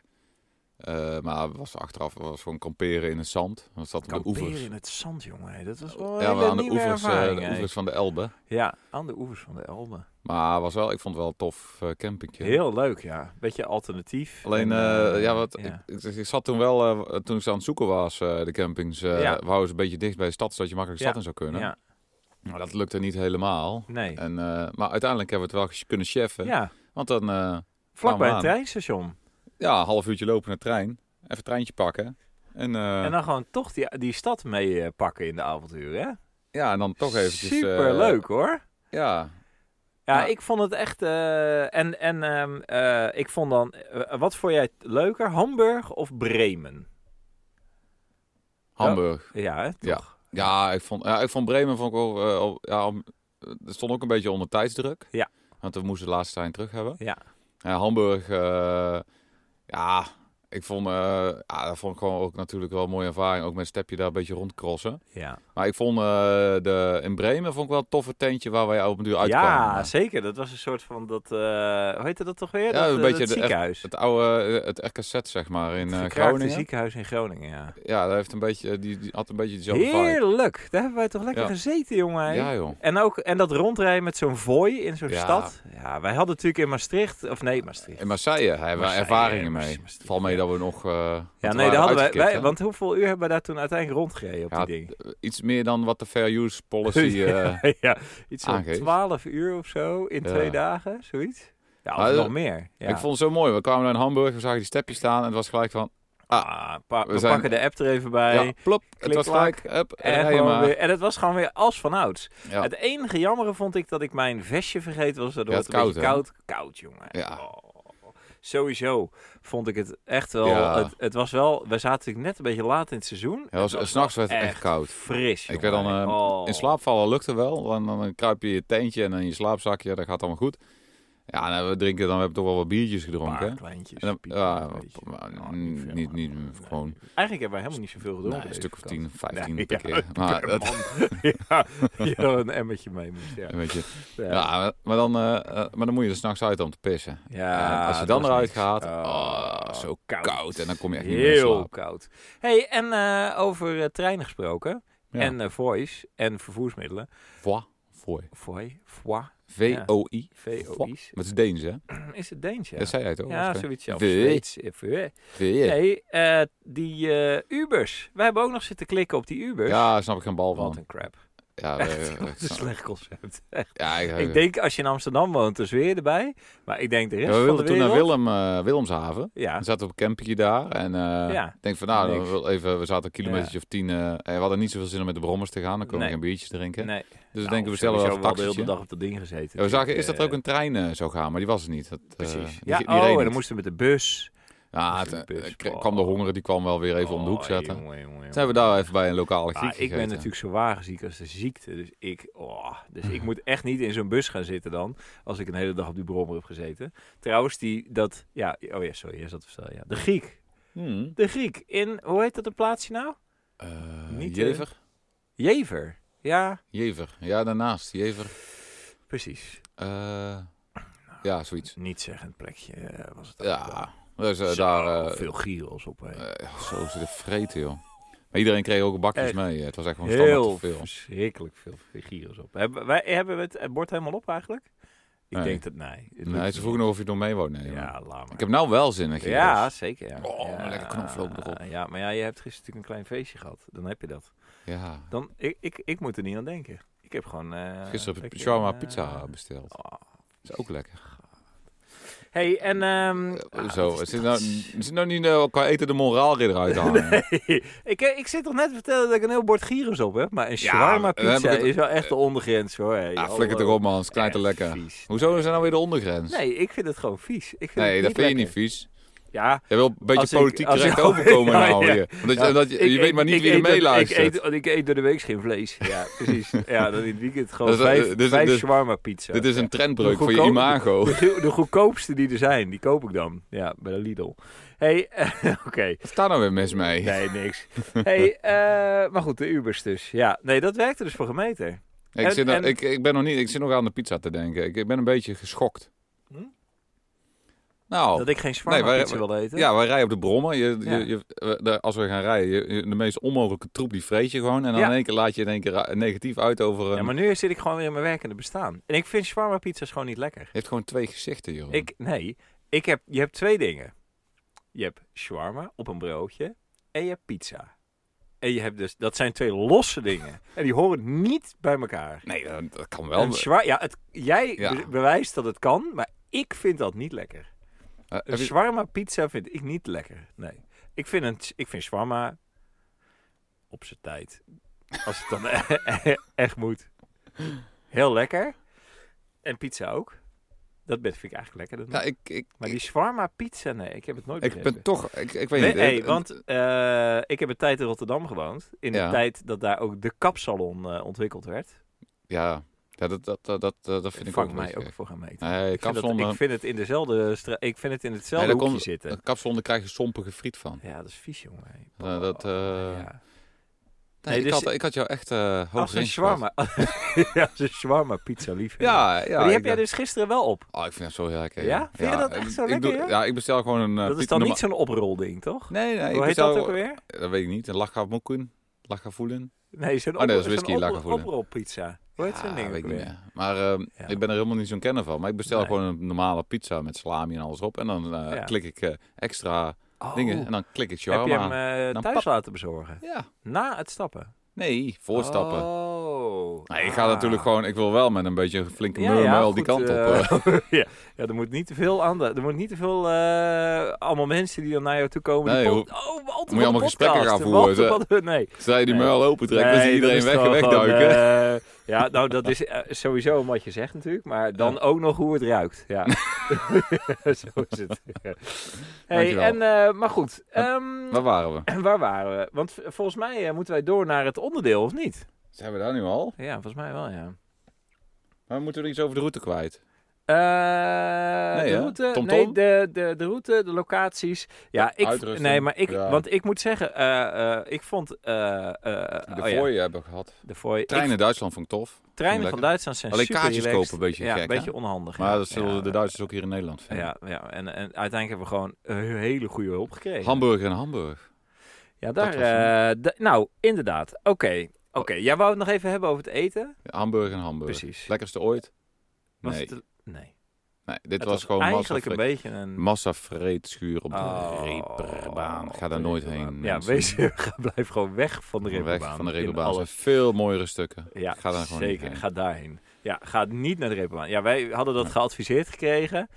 Speaker 2: Eh, maar het was achteraf het was gewoon kamperen in het zand. Dat zat op de
Speaker 1: Kamperen
Speaker 2: oevers.
Speaker 1: in het zand, jongen. hè. Dat was wel een
Speaker 2: Ja, we
Speaker 1: hele
Speaker 2: aan de
Speaker 1: nieuwe
Speaker 2: oevers, eh,
Speaker 1: ervaring,
Speaker 2: de
Speaker 1: hè.
Speaker 2: oevers van de Elbe.
Speaker 1: Ja, aan de oevers van de Elbe.
Speaker 2: Maar was wel, ik vond het wel een tof eh, campingje.
Speaker 1: Heel leuk, ja. Beetje alternatief.
Speaker 2: Alleen,
Speaker 1: En,
Speaker 2: eh,
Speaker 1: eh,
Speaker 2: ja, wat, Ik, ik, ik zat toen wel, eh, toen ik ze aan het zoeken was, eh, de campings, eh
Speaker 1: Ja.
Speaker 2: we houden ze een beetje dicht bij de stad, zodat je makkelijk de
Speaker 1: Ja,
Speaker 2: stad in zou kunnen.
Speaker 1: ja,
Speaker 2: Maar dat lukte niet helemaal.
Speaker 1: nee.
Speaker 2: En, eh, maar uiteindelijk hebben we het wel ges- kunnen cheffen.
Speaker 1: Ja,
Speaker 2: Want dan, eh,
Speaker 1: vlakbij
Speaker 2: aan.
Speaker 1: het treinstation.
Speaker 2: ja, een half uurtje lopen naar de trein. Even een treintje pakken. En, eh,
Speaker 1: En dan gewoon toch die, die stad mee eh, pakken in de avonturen, hè?
Speaker 2: ja, en dan toch eventjes... eh,
Speaker 1: Superleuk, hoor.
Speaker 2: Ja,
Speaker 1: Ja,
Speaker 2: ja.
Speaker 1: ik vond het echt... eh, en en ehm, eh, ik vond dan... eh, wat vond jij leuker, Hamburg of Bremen?
Speaker 2: Hamburg.
Speaker 1: Ja, hè, toch?
Speaker 2: Ja, ik vond, ja, ik vond Bremen vond ik wel... eh, al- ja, om- eh, er stond ook een beetje onder tijdsdruk.
Speaker 1: Ja.
Speaker 2: Want we moesten de laatste trein terug hebben.
Speaker 1: Ja.
Speaker 2: Ja, Hamburg... eh, Ja, ik vond, eh, ja, dat vond ik gewoon ook natuurlijk wel een mooie ervaring. Ook met stepje daar een beetje rondcrossen.
Speaker 1: Ja,
Speaker 2: Maar ik vond eh, de, in Bremen vond ik wel een toffe tentje waar wij op een duur uitkwamen.
Speaker 1: ja zeker. Dat was een soort van dat... eh, hoe heette dat toch weer?
Speaker 2: Ja,
Speaker 1: dat,
Speaker 2: een
Speaker 1: eh,
Speaker 2: beetje
Speaker 1: dat
Speaker 2: de-
Speaker 1: ziekenhuis.
Speaker 2: Het oude, eh, het RKZ zeg maar in
Speaker 1: Het
Speaker 2: eh,
Speaker 1: gekraakte
Speaker 2: Groningen.
Speaker 1: ziekenhuis in Groningen, ja.
Speaker 2: Ja, dat heeft een beetje, die, die had een beetje dezelfde vibe.
Speaker 1: Heerlijk. Daar hebben wij toch lekker
Speaker 2: Ja.
Speaker 1: gezeten, jongen. hè?
Speaker 2: Ja joh.
Speaker 1: En, ook, en dat rondrijden met zo'n vooi in zo'n
Speaker 2: Ja.
Speaker 1: stad. Ja, wij hadden natuurlijk in Maastricht... Of nee, Maastricht.
Speaker 2: In Marseille hebben we
Speaker 1: Marseille,
Speaker 2: ervaringen
Speaker 1: Marseille,
Speaker 2: mee.
Speaker 1: Marseille,
Speaker 2: Val mee
Speaker 1: ja.
Speaker 2: dat we nog... eh,
Speaker 1: Ja,
Speaker 2: want we
Speaker 1: nee,
Speaker 2: waren
Speaker 1: daar hadden wij,
Speaker 2: uitgekikt,
Speaker 1: wij...
Speaker 2: hè.
Speaker 1: Want hoeveel uur hebben wij daar toen uiteindelijk rondgereden op
Speaker 2: Ja,
Speaker 1: die ding?
Speaker 2: Iets meer dan wat de fair use policy... eh,
Speaker 1: ja, iets van
Speaker 2: aangeeft.
Speaker 1: 12 uur of zo in
Speaker 2: Ja.
Speaker 1: twee dagen, zoiets. Ja, of
Speaker 2: Maar, eh,
Speaker 1: nog meer. Ja.
Speaker 2: Ik vond het zo mooi. We kwamen naar Hamburg, we zagen die stepjes staan en het was gelijk van...
Speaker 1: Ah, pa-
Speaker 2: we
Speaker 1: we
Speaker 2: zijn-
Speaker 1: pakken de app er even bij.
Speaker 2: ja, plop. Het
Speaker 1: klik,
Speaker 2: was gelijk, up,
Speaker 1: En,
Speaker 2: en rij je
Speaker 1: gewoon
Speaker 2: maar.
Speaker 1: weer- en het was gewoon weer als vanouds.
Speaker 2: Ja.
Speaker 1: Het enige jammere vond ik dat ik mijn vestje vergeten was. Daardoor
Speaker 2: Ja,
Speaker 1: het
Speaker 2: het
Speaker 1: een beetje
Speaker 2: koud,
Speaker 1: koud, koud, jongen.
Speaker 2: Ja.
Speaker 1: Oh. Sowieso vond ik het echt wel...
Speaker 2: Ja.
Speaker 1: Het, het was wel... We zaten natuurlijk net een beetje laat in het seizoen.
Speaker 2: Ja, was, s'nachts werd het echt, koud.
Speaker 1: Fris,
Speaker 2: Ik
Speaker 1: jongen.
Speaker 2: werd dan, eh,
Speaker 1: Oh.
Speaker 2: In slaap vallen lukte wel. Dan, dan kruip je in je teentje en in je slaapzakje. Dat gaat allemaal goed. Ja, en eh, we drinken, dan hebben we toch wel wat biertjes
Speaker 1: Een
Speaker 2: gedronken.
Speaker 1: paar
Speaker 2: hè?
Speaker 1: kleintjes.
Speaker 2: En dan,
Speaker 1: piepjes,
Speaker 2: ja,
Speaker 1: een beetje.
Speaker 2: maar
Speaker 1: Nou,
Speaker 2: niet,
Speaker 1: veel,
Speaker 2: niet,
Speaker 1: maar-
Speaker 2: niet- gewoon
Speaker 1: Eigenlijk hebben wij helemaal niet zoveel gedronken.
Speaker 2: nee, Nou, een
Speaker 1: deze
Speaker 2: stuk of
Speaker 1: vakantie.
Speaker 2: 10, 15
Speaker 1: Nee,
Speaker 2: per
Speaker 1: ja,
Speaker 2: keer. Maar
Speaker 1: per
Speaker 2: dat,
Speaker 1: ja, je wel een emmertje mee moet. Ja.
Speaker 2: een beetje,
Speaker 1: Ja.
Speaker 2: ja, maar- maar, dan, eh, eh, maar dan moet je er s'nachts uit om te pissen.
Speaker 1: Ja,
Speaker 2: en als je
Speaker 1: het
Speaker 2: dan
Speaker 1: was
Speaker 2: eruit
Speaker 1: niks.
Speaker 2: gaat,
Speaker 1: Oh,
Speaker 2: oh, zo koud. En dan kom je echt niet meer in
Speaker 1: Heel
Speaker 2: slaap.
Speaker 1: koud. hey, en eh, over eh, treinen gesproken.
Speaker 2: Ja.
Speaker 1: En eh, voice en vervoersmiddelen.
Speaker 2: Voi, voi.
Speaker 1: Voi, voi,
Speaker 2: V-O-I.
Speaker 1: VOI's.
Speaker 2: Dat is Deens, hè?
Speaker 1: Is het Deens, ja?
Speaker 2: Dat zei jij toch?
Speaker 1: ja, zoiets. Ja, of
Speaker 2: Voi.
Speaker 1: Zweeds. eh, voi.
Speaker 2: Voi.
Speaker 1: Nee, eh, die eh, Ubers. Wij hebben ook nog zitten klikken op die Ubers.
Speaker 2: Ja, daar snap ik geen bal
Speaker 1: Wat
Speaker 2: van.
Speaker 1: een crap.
Speaker 2: Ja,
Speaker 1: Echt,
Speaker 2: eh,
Speaker 1: wat
Speaker 2: echt
Speaker 1: een
Speaker 2: snap-
Speaker 1: slecht concept.
Speaker 2: ja, ik,
Speaker 1: Ik denk als je in Amsterdam woont, dan zweer je erbij. Maar ik denk de
Speaker 2: Ja,
Speaker 1: rest
Speaker 2: we
Speaker 1: van de
Speaker 2: wilden toen naar
Speaker 1: wereld...
Speaker 2: Willem, eh, Willemshaven.
Speaker 1: Ja,
Speaker 2: We zaten op een campje daar. En eh,
Speaker 1: Ja.
Speaker 2: ik denk van, nou,
Speaker 1: Niks.
Speaker 2: we, willen even, we zaten een kilometertje of tien. eh, en we hadden niet zoveel zin om met de brommers te gaan. Dan komen
Speaker 1: Nee.
Speaker 2: we geen biertjes drinken.
Speaker 1: nee.
Speaker 2: Dus ik
Speaker 1: Nou,
Speaker 2: denk, we stellen wel
Speaker 1: sowieso
Speaker 2: een
Speaker 1: de hele
Speaker 2: taxi.
Speaker 1: dag op dat ding gezeten.
Speaker 2: Ja, we zagen
Speaker 1: is
Speaker 2: eerst dat er ook een trein eh, zou gaan, maar die was er niet. Dat, eh,
Speaker 1: Precies.
Speaker 2: die-
Speaker 1: Ja,
Speaker 2: die reed
Speaker 1: oh, en
Speaker 2: niet.
Speaker 1: dan moesten we met de bus.
Speaker 2: Ja,
Speaker 1: moest
Speaker 2: het,
Speaker 1: de bus.
Speaker 2: eh, k- kwam de honger, die kwam wel weer even om de hoek
Speaker 1: Oh,
Speaker 2: zetten.
Speaker 1: jongen, jongen, jongen.
Speaker 2: Toen hebben we daar even bij een lokale
Speaker 1: Ah,
Speaker 2: Griek
Speaker 1: ik ben
Speaker 2: gegeten.
Speaker 1: natuurlijk zo wagenziek als de ziekte. Dus ik, oh, dus ik moet echt niet in zo'n bus gaan zitten dan. Als ik een hele dag op die brommer heb gezeten. Trouwens, die, dat... Ja, oh ja, sorry. Jij zat op stel, ja. De Griek.
Speaker 2: Hmm.
Speaker 1: De Griek. In, hoe heet dat een plaatsje nou?
Speaker 2: Eh,
Speaker 1: Niet, eh,
Speaker 2: Jever?
Speaker 1: Jever. Ja,
Speaker 2: Jever. Ja, daarnaast. Jever.
Speaker 1: precies.
Speaker 2: Eh, ja, zoiets.
Speaker 1: Niet zeggend plekje eh, was het. ook wel.
Speaker 2: Ja, dus eh,
Speaker 1: Zo,
Speaker 2: daar... eh,
Speaker 1: veel gyros op. hè.
Speaker 2: eh, zo zitten vreten, joh. Maar iedereen kreeg ook bakjes
Speaker 1: Echt.
Speaker 2: mee. eh. Het was echt gewoon standaard
Speaker 1: Heel
Speaker 2: te veel.
Speaker 1: verschrikkelijk veel gyros op. Hebben, wij, hebben we het eh, bord helemaal op eigenlijk? Ik
Speaker 2: Nee.
Speaker 1: denk dat nee. Het
Speaker 2: Nee,
Speaker 1: lukt
Speaker 2: ze vroegen nog of je er mee wou nemen.
Speaker 1: Ja, laat maar.
Speaker 2: Ik heb nou wel zin in gyros.
Speaker 1: ja, zeker. Ja.
Speaker 2: Oh, maar
Speaker 1: Ja,
Speaker 2: lekker knoflook erop.
Speaker 1: Ja, maar ja, je hebt gisteren natuurlijk een klein feestje gehad. Dan heb je dat.
Speaker 2: ja.
Speaker 1: Dan, ik, ik, ik moet er niet aan denken. Ik heb gewoon... eh,
Speaker 2: Gisteren heb ik
Speaker 1: lekker,
Speaker 2: shawarma
Speaker 1: eh,
Speaker 2: pizza besteld.
Speaker 1: oh.
Speaker 2: is ook lekker.
Speaker 1: hey, en... ehm,
Speaker 2: Eh,
Speaker 1: ah,
Speaker 2: zo,
Speaker 1: wat
Speaker 2: het
Speaker 1: is
Speaker 2: zit nou,
Speaker 1: dat?
Speaker 2: het zit nou niet eh, qua eten de moraalridder uit te hangen.
Speaker 1: ik, eh, ik zit toch net te vertellen dat ik een heel bord gyros op heb. Maar een
Speaker 2: Ja,
Speaker 1: shawarma
Speaker 2: dan heb
Speaker 1: pizza
Speaker 2: ik het- eh,
Speaker 1: is wel echt de ondergrens hoor. Hey,
Speaker 2: Ja,
Speaker 1: hallo.
Speaker 2: Ah, flikker toch op man, het is knijter
Speaker 1: Echt
Speaker 2: lekker.
Speaker 1: vies.
Speaker 2: Hoezo is dat nou weer de ondergrens?
Speaker 1: Nee, ik vind het gewoon vies. Ik vind
Speaker 2: Nee,
Speaker 1: het
Speaker 2: dat vind je niet
Speaker 1: lekker.
Speaker 2: vies.
Speaker 1: Ja,
Speaker 2: Je wil een beetje
Speaker 1: Als ik-
Speaker 2: politiek
Speaker 1: als
Speaker 2: correct
Speaker 1: ik-
Speaker 2: overkomen
Speaker 1: Ja,
Speaker 2: nou
Speaker 1: ja.
Speaker 2: hier. Omdat je,
Speaker 1: ja,
Speaker 2: omdat je,
Speaker 1: ik
Speaker 2: je
Speaker 1: eet-
Speaker 2: weet maar niet
Speaker 1: ik
Speaker 2: wie
Speaker 1: eet
Speaker 2: er
Speaker 1: door-
Speaker 2: mee
Speaker 1: Ik
Speaker 2: luistert.
Speaker 1: eet, ik eet door de week geen vlees. Ja, precies. Ja, dan in het weekend gewoon
Speaker 2: Dat is-
Speaker 1: vijf,
Speaker 2: dit is-
Speaker 1: vijf
Speaker 2: dit-
Speaker 1: shawarma pizza.
Speaker 2: eh, dus- Dit is een trendbreuk voor je
Speaker 1: goedkoop-
Speaker 2: imago.
Speaker 1: De, go- de goedkoopste die er zijn, die koop ik dan. Ja, bij de Lidl. hey, eh, oké.
Speaker 2: Wat staat nou weer mis mee?
Speaker 1: Nee, niks. hey, eh, maar goed, de Ubers dus. Ja, nee, dat werkte dus voor gemeter.
Speaker 2: Ik,
Speaker 1: En-
Speaker 2: zit nog-
Speaker 1: en-
Speaker 2: ik, ik, ben nog niet, ik zit nog aan de pizza te denken. Ik, ik ben een beetje geschokt.
Speaker 1: Hm?
Speaker 2: Nou,
Speaker 1: Dat ik geen shawarma
Speaker 2: Nee, wij-
Speaker 1: pizza wilde eten.
Speaker 2: ja, wij rijden op de brommen. Je, je-
Speaker 1: Ja.
Speaker 2: je- eh, de- als we gaan rijden, je- je- de meest onmogelijke troep die vreet je gewoon. En dan
Speaker 1: Ja.
Speaker 2: in één keer laat je in één keer ra- negatief uit over een...
Speaker 1: Ja, maar nu zit ik gewoon weer in mijn werkende bestaan. En ik vind shawarma pizza's gewoon niet lekker.
Speaker 2: Je hebt gewoon twee gezichten, joh.
Speaker 1: Ik, nee, ik heb, je hebt twee dingen. Je hebt shawarma op een broodje en je hebt pizza. En je hebt dus, dat zijn twee losse dingen. En die horen niet bij elkaar.
Speaker 2: Nee, dat, dat kan wel.
Speaker 1: Een shawarma, ja, het, jij
Speaker 2: Ja.
Speaker 1: be- bewijst dat het kan, maar ik vind dat niet lekker.
Speaker 2: Eh,
Speaker 1: Een
Speaker 2: heb je-
Speaker 1: shawarma pizza vind ik niet lekker. Nee. Ik vind, een, ik vind shawarma op zijn tijd. Als het dan e- echt moet. Heel lekker. En pizza ook. Dat vind ik eigenlijk lekkerder. dan
Speaker 2: Ja, ik, ik,
Speaker 1: maar
Speaker 2: ik,
Speaker 1: die shawarma pizza, nee, ik heb het nooit
Speaker 2: ik ben
Speaker 1: begrepen.
Speaker 2: toch... Ik, ik weet
Speaker 1: Nee,
Speaker 2: niet.
Speaker 1: hey,
Speaker 2: eh,
Speaker 1: want eh, ik heb een tijd in Rotterdam gewoond. In de
Speaker 2: Ja.
Speaker 1: tijd dat daar ook de kapsalon eh, ontwikkeld werd.
Speaker 2: Ja, Ja, dat, dat, dat, dat, dat vind ik
Speaker 1: Vang
Speaker 2: ook
Speaker 1: mij ook
Speaker 2: leuk.
Speaker 1: voor gaan meten.
Speaker 2: Nee,
Speaker 1: ik, vind dat-
Speaker 2: kapsalon, eh,
Speaker 1: ik vind het in dezelfde, stra- ik vind het eh, in hetzelfde
Speaker 2: Nee, dat
Speaker 1: hoekje
Speaker 2: komt- eh,
Speaker 1: zitten.
Speaker 2: Een kapsalon, daar krijg je sompige friet van.
Speaker 1: Ja, dat is vies, jongen. Hey,
Speaker 2: Eh, dat, eh,
Speaker 1: ja.
Speaker 2: Nee,
Speaker 1: Nee,
Speaker 2: ik,
Speaker 1: dus-
Speaker 2: had, ik had jou echt eh hoog
Speaker 1: Als een
Speaker 2: range gehad.
Speaker 1: shawarma. ja, als een shawarma pizza lief.
Speaker 2: Ja, ja.
Speaker 1: maar die
Speaker 2: ik
Speaker 1: heb jij
Speaker 2: dacht-
Speaker 1: dus gisteren wel op.
Speaker 2: Oh, ik vind dat zo heel lekker.
Speaker 1: Ja? Vind je dat echt
Speaker 2: ik-
Speaker 1: zo
Speaker 2: ik
Speaker 1: lekker,
Speaker 2: doe-
Speaker 1: ja?
Speaker 2: Ja, ik bestel gewoon een... eh,
Speaker 1: dat is
Speaker 2: piet-
Speaker 1: dan
Speaker 2: norma-
Speaker 1: niet zo'n oprolding, toch?
Speaker 2: Nee, nee. ik
Speaker 1: Hoe heet
Speaker 2: bestel,
Speaker 1: dat ook alweer?
Speaker 2: Dat weet ik niet. Een lachamoekun. Lachafoelen.
Speaker 1: Nee, zo'n
Speaker 2: Oh, nee, dat is
Speaker 1: opro- zo'n
Speaker 2: whisky, lager
Speaker 1: opro-
Speaker 2: voelen.
Speaker 1: oprolpizza. Hoe heet zo'n
Speaker 2: Ja,
Speaker 1: ding ook
Speaker 2: Ah, weet ik
Speaker 1: weer?
Speaker 2: niet meer. Maar ehm,
Speaker 1: Ja.
Speaker 2: ik ben er helemaal niet zo'n kenner van. Maar ik bestel
Speaker 1: Nee.
Speaker 2: gewoon een normale pizza met salami en alles op. En dan eh,
Speaker 1: Ja.
Speaker 2: klik ik eh, extra
Speaker 1: Oh,
Speaker 2: dingen. En dan klik
Speaker 1: heb
Speaker 2: ik
Speaker 1: je
Speaker 2: shawarma.
Speaker 1: hem eh,
Speaker 2: Dan
Speaker 1: thuis
Speaker 2: pap-
Speaker 1: laten bezorgen?
Speaker 2: Ja.
Speaker 1: Na het stappen?
Speaker 2: Nee, voorstappen.
Speaker 1: Oh.
Speaker 2: Nee, ik ga
Speaker 1: Ah.
Speaker 2: natuurlijk gewoon... Ik wil wel met een beetje een flinke
Speaker 1: Ja,
Speaker 2: murmel
Speaker 1: ja,
Speaker 2: die
Speaker 1: goed,
Speaker 2: kant op.
Speaker 1: eh,
Speaker 2: eh.
Speaker 1: ja. ja, er moet niet te veel aan. Er moet niet te veel. eh, allemaal mensen die dan naar jou toe komen. die
Speaker 2: Nee,
Speaker 1: pod- oh, Walter van
Speaker 2: je
Speaker 1: de
Speaker 2: allemaal gesprekken
Speaker 1: podcast.
Speaker 2: gaan voeren,
Speaker 1: Walter
Speaker 2: hè?
Speaker 1: van de- nee.
Speaker 2: Zodra je die
Speaker 1: Nee.
Speaker 2: muil open trekt, dan zie je
Speaker 1: dat
Speaker 2: iedereen
Speaker 1: is
Speaker 2: weg
Speaker 1: wel gewoon,
Speaker 2: wegduiken.
Speaker 1: eh, ja, nou, dat is eh, sowieso wat je zegt natuurlijk. Maar dan
Speaker 2: Ja.
Speaker 1: ook nog hoe het ruikt. Ja. Zo is het. hey,
Speaker 2: Dankjewel.
Speaker 1: en, eh, maar goed.
Speaker 2: En-
Speaker 1: ehm,
Speaker 2: Waar waren we?
Speaker 1: waar waren we? Want v- volgens mij eh, moeten wij door naar het onderdeel, of niet?
Speaker 2: Zijn we daar nu al?
Speaker 1: Ja, volgens mij wel, ja.
Speaker 2: Maar moeten we er iets over de route kwijt?
Speaker 1: Eh,
Speaker 2: Nee,
Speaker 1: de
Speaker 2: hè?
Speaker 1: route,
Speaker 2: TomTom?
Speaker 1: nee, de, de, de route, de locaties. Ja, ik,
Speaker 2: uitrusting.
Speaker 1: nee, maar ik,
Speaker 2: Ja.
Speaker 1: want ik moet zeggen, eh, eh, ik vond eh, eh,
Speaker 2: De
Speaker 1: oh ja,
Speaker 2: fooi hebben we gehad.
Speaker 1: de fooi. Ik-
Speaker 2: Treinen in Duitsland vond ik tof.
Speaker 1: treinen
Speaker 2: lekker.
Speaker 1: van Duitsland zijn
Speaker 2: Alleen
Speaker 1: super
Speaker 2: kaartjes
Speaker 1: relaxed.
Speaker 2: kopen, een beetje
Speaker 1: ja,
Speaker 2: gek,
Speaker 1: een beetje
Speaker 2: hè?
Speaker 1: onhandig.
Speaker 2: Maar
Speaker 1: ja.
Speaker 2: dat zullen
Speaker 1: Ja,
Speaker 2: de Duitsers ook hier in Nederland vinden.
Speaker 1: Ja, ja. En, en uiteindelijk hebben we gewoon een hele goede hulp gekregen.
Speaker 2: Hamburg en Hamburg.
Speaker 1: Ja,
Speaker 2: Dat
Speaker 1: daar.
Speaker 2: was Oh.
Speaker 1: eh, d- nou, inderdaad. Oké. Oké, jij wou het nog even hebben over het eten?
Speaker 2: Hamburg en Hamburg.
Speaker 1: Precies.
Speaker 2: Lekkerste ooit?
Speaker 1: Was
Speaker 2: Nee,
Speaker 1: het de- nee.
Speaker 2: nee dit
Speaker 1: Het
Speaker 2: was, gewoon
Speaker 1: eigenlijk een
Speaker 2: massafre-
Speaker 1: beetje een...
Speaker 2: massavreedschuur op de
Speaker 1: Oh,
Speaker 2: reeperbaan. Ga daar nooit heen.
Speaker 1: Ja,
Speaker 2: mensen.
Speaker 1: wees, ga- blijf gewoon weg van de reeperbaan.
Speaker 2: Weg van de
Speaker 1: In
Speaker 2: reeperbaan. Er
Speaker 1: alle-
Speaker 2: zijn veel mooiere stukken.
Speaker 1: Ja,
Speaker 2: Ga daar gewoon
Speaker 1: zeker.
Speaker 2: niet heen.
Speaker 1: Ga daarheen. Ja, ga niet naar de reeperbaan. Ja, wij hadden dat
Speaker 2: Nee.
Speaker 1: geadviseerd gekregen.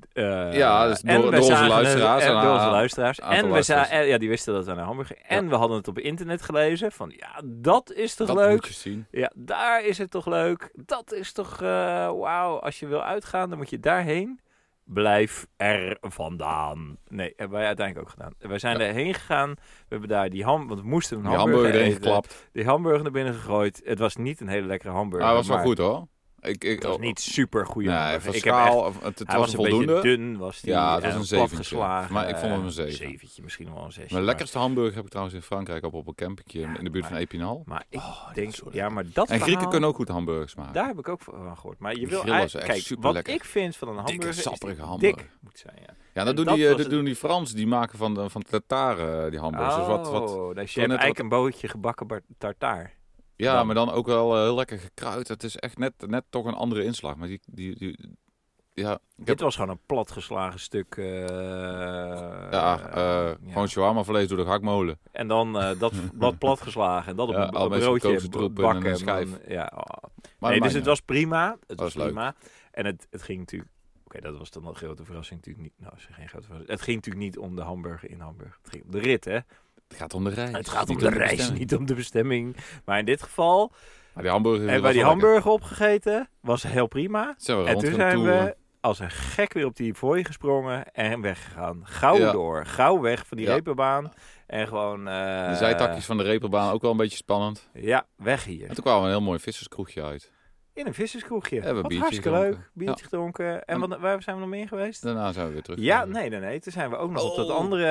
Speaker 1: D- eh,
Speaker 2: Ja, dus door-
Speaker 1: wij
Speaker 2: door onze
Speaker 1: zagen het-
Speaker 2: luisteraars
Speaker 1: en
Speaker 2: en
Speaker 1: door
Speaker 2: a-
Speaker 1: onze luisteraars.
Speaker 2: aantal
Speaker 1: En we
Speaker 2: luisteraars.
Speaker 1: zagen, ja, die wisten dat we naar Hamburg gingen. En we hadden het op internet gelezen. Van ja, dat is toch
Speaker 2: Dat
Speaker 1: leuk?
Speaker 2: moet je zien.
Speaker 1: Ja, daar is het toch leuk. Dat is toch, eh, wauw, als je wil uitgaan, dan moet je daarheen. Blijf er vandaan. Nee, hebben wij uiteindelijk ook gedaan. Wij zijn
Speaker 2: Ja.
Speaker 1: erheen gegaan. We hebben daar die ham, want we moesten een
Speaker 2: Die
Speaker 1: hamburger,
Speaker 2: Hamburg erin
Speaker 1: eten.
Speaker 2: geklapt.
Speaker 1: Die hamburger naar binnen gegooid. Het was niet een hele lekkere hamburger.
Speaker 2: Maar Ah, was wel
Speaker 1: maar
Speaker 2: goed hoor. Ik, ik, oh,
Speaker 1: Het was niet super goede
Speaker 2: Nee,
Speaker 1: hamburger.
Speaker 2: van
Speaker 1: Ik heb echt,
Speaker 2: schaal, of- het, het
Speaker 1: hij
Speaker 2: was
Speaker 1: was
Speaker 2: een
Speaker 1: een beetje
Speaker 2: voldoende.
Speaker 1: dun, was die.
Speaker 2: Ja, het was
Speaker 1: en
Speaker 2: een zeventje.
Speaker 1: platgeslagen.
Speaker 2: Maar ik vond hem een
Speaker 1: Eh,
Speaker 2: zeven.
Speaker 1: zeventje, misschien wel een zesje.
Speaker 2: Mijn
Speaker 1: maar-
Speaker 2: lekkerste hamburger heb ik trouwens in Frankrijk op, op een campingje in de buurt van Epinal.
Speaker 1: Maar ik
Speaker 2: dat
Speaker 1: denk,
Speaker 2: is zo lekker.
Speaker 1: ja, maar dat
Speaker 2: Oh, En Grieken
Speaker 1: verhaal-
Speaker 2: kunnen ook goed hamburgers maken.
Speaker 1: Daar heb ik ook van gehoord. Maar je
Speaker 2: Die
Speaker 1: wil
Speaker 2: grillen
Speaker 1: eigenlijk-
Speaker 2: zijn echt
Speaker 1: kijk, wat
Speaker 2: superlekker.
Speaker 1: ik vind van een
Speaker 2: Dikke,
Speaker 1: hamburger is die
Speaker 2: sapperige
Speaker 1: dik
Speaker 2: hamburger.
Speaker 1: moet zijn. Ja.
Speaker 2: ja,
Speaker 1: en
Speaker 2: dat, doen
Speaker 1: dat
Speaker 2: die, eh,
Speaker 1: was
Speaker 2: dat
Speaker 1: het-
Speaker 2: doen die Fransen. Die maken van, de- van tartaren die hamburgers. Dus wat, wat,
Speaker 1: Oh, dus je
Speaker 2: net
Speaker 1: hebt
Speaker 2: wat-
Speaker 1: eigenlijk een bootje gebakken bar- tartaar.
Speaker 2: ja,
Speaker 1: dan-
Speaker 2: maar dan ook wel eh, heel lekker gekruid. Het is echt net, net toch een andere inslag. Maar die, die, die- ja, ik heb-
Speaker 1: Dit was gewoon een platgeslagen stuk. eh,
Speaker 2: ja, eh,
Speaker 1: eh, ja.
Speaker 2: gewoon shawarma vlees door de hakmolen.
Speaker 1: En dan eh, dat, dat platgeslagen. En dat op
Speaker 2: Ja,
Speaker 1: een,
Speaker 2: al
Speaker 1: op een
Speaker 2: met
Speaker 1: broodje
Speaker 2: gekookte
Speaker 1: b-
Speaker 2: troep en
Speaker 1: bakken.
Speaker 2: een schijf.
Speaker 1: dan- ja, oh.
Speaker 2: Maar
Speaker 1: nee,
Speaker 2: dat
Speaker 1: dus het
Speaker 2: maakt
Speaker 1: was prima. Het was,
Speaker 2: was leuk.
Speaker 1: prima. En het, het ging natuurlijk... Oké, dat was dan een grote verrassing natuurlijk niet. Nou, is geen grote verrassing. Het ging natuurlijk niet om de hamburger in Hamburg. Het ging om de rit, hè?
Speaker 2: niet uit. het gaat om de reis.
Speaker 1: Het gaat om
Speaker 2: niet
Speaker 1: de reis,
Speaker 2: bestemming.
Speaker 1: niet om de bestemming. Maar in dit geval
Speaker 2: Maar die hamburger
Speaker 1: hebben wij die hamburger opgegeten. Was heel prima.
Speaker 2: Zijn we
Speaker 1: En
Speaker 2: rond
Speaker 1: toen
Speaker 2: gaan
Speaker 1: zijn
Speaker 2: toeren.
Speaker 1: we als een gek weer op die fooi gesprongen en weggegaan. Gauw
Speaker 2: Ja.
Speaker 1: door. Gauw weg van die
Speaker 2: Ja.
Speaker 1: reeperbaan. En gewoon... eh,
Speaker 2: De zijtakjes van de reeperbaan ook wel een beetje spannend.
Speaker 1: Ja, weg
Speaker 2: En
Speaker 1: hier.
Speaker 2: toen kwamen we een heel mooi visserskroegje uit.
Speaker 1: In een visserskroegje.
Speaker 2: Hebben we
Speaker 1: Wat
Speaker 2: biertje
Speaker 1: hartstikke
Speaker 2: gedronken.
Speaker 1: leuk. Biertje gedronken. En
Speaker 2: En-
Speaker 1: wat, waar zijn we nog meer geweest?
Speaker 2: Daarna zijn we weer terug.
Speaker 1: Ja, nee, nee, nee. Toen zijn we ook nog op dat
Speaker 2: Oh.
Speaker 1: andere...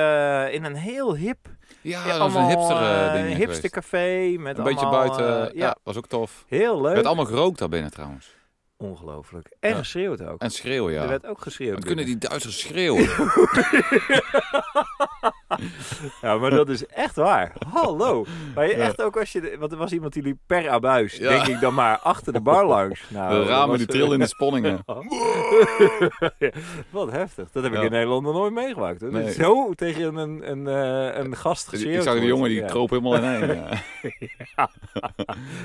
Speaker 1: eh, In een heel hip...
Speaker 2: Ja,
Speaker 1: eh,
Speaker 2: dat was een
Speaker 1: allemaal,
Speaker 2: hipster eh,
Speaker 1: eh,
Speaker 2: ding geweest.
Speaker 1: hipster café. Met
Speaker 2: Een beetje
Speaker 1: allemaal,
Speaker 2: buiten.
Speaker 1: eh,
Speaker 2: ja.
Speaker 1: ja,
Speaker 2: was ook tof.
Speaker 1: heel leuk.
Speaker 2: Er werd allemaal gerookt daar binnen trouwens.
Speaker 1: Ongelooflijk. En
Speaker 2: Ja.
Speaker 1: geschreeuwd ook.
Speaker 2: En schreeuwen, ja.
Speaker 1: Er werd ook geschreeuwd.
Speaker 2: Wat kunnen die Duitsers schreeuwen?
Speaker 1: binnen. Ja, maar dat is echt waar. Hallo. Maar je echt ook als je... de- want er was iemand die liep per abuis,
Speaker 2: Ja.
Speaker 1: denk ik dan maar, achter de bar langs. Nou,
Speaker 2: de
Speaker 1: dat was
Speaker 2: ramen die
Speaker 1: er-
Speaker 2: trillen in de sponningen.
Speaker 1: Wat heftig. Dat heb ik
Speaker 2: Ja.
Speaker 1: in Nederland nog nooit meegemaakt. Hoor. Dat
Speaker 2: Nee.
Speaker 1: Zo tegen een, een, eh, een gast
Speaker 2: Ik-
Speaker 1: geschreeuwd
Speaker 2: Ik zag die
Speaker 1: wordt.
Speaker 2: jongen die
Speaker 1: ja.
Speaker 2: kroop helemaal ineen. Ja.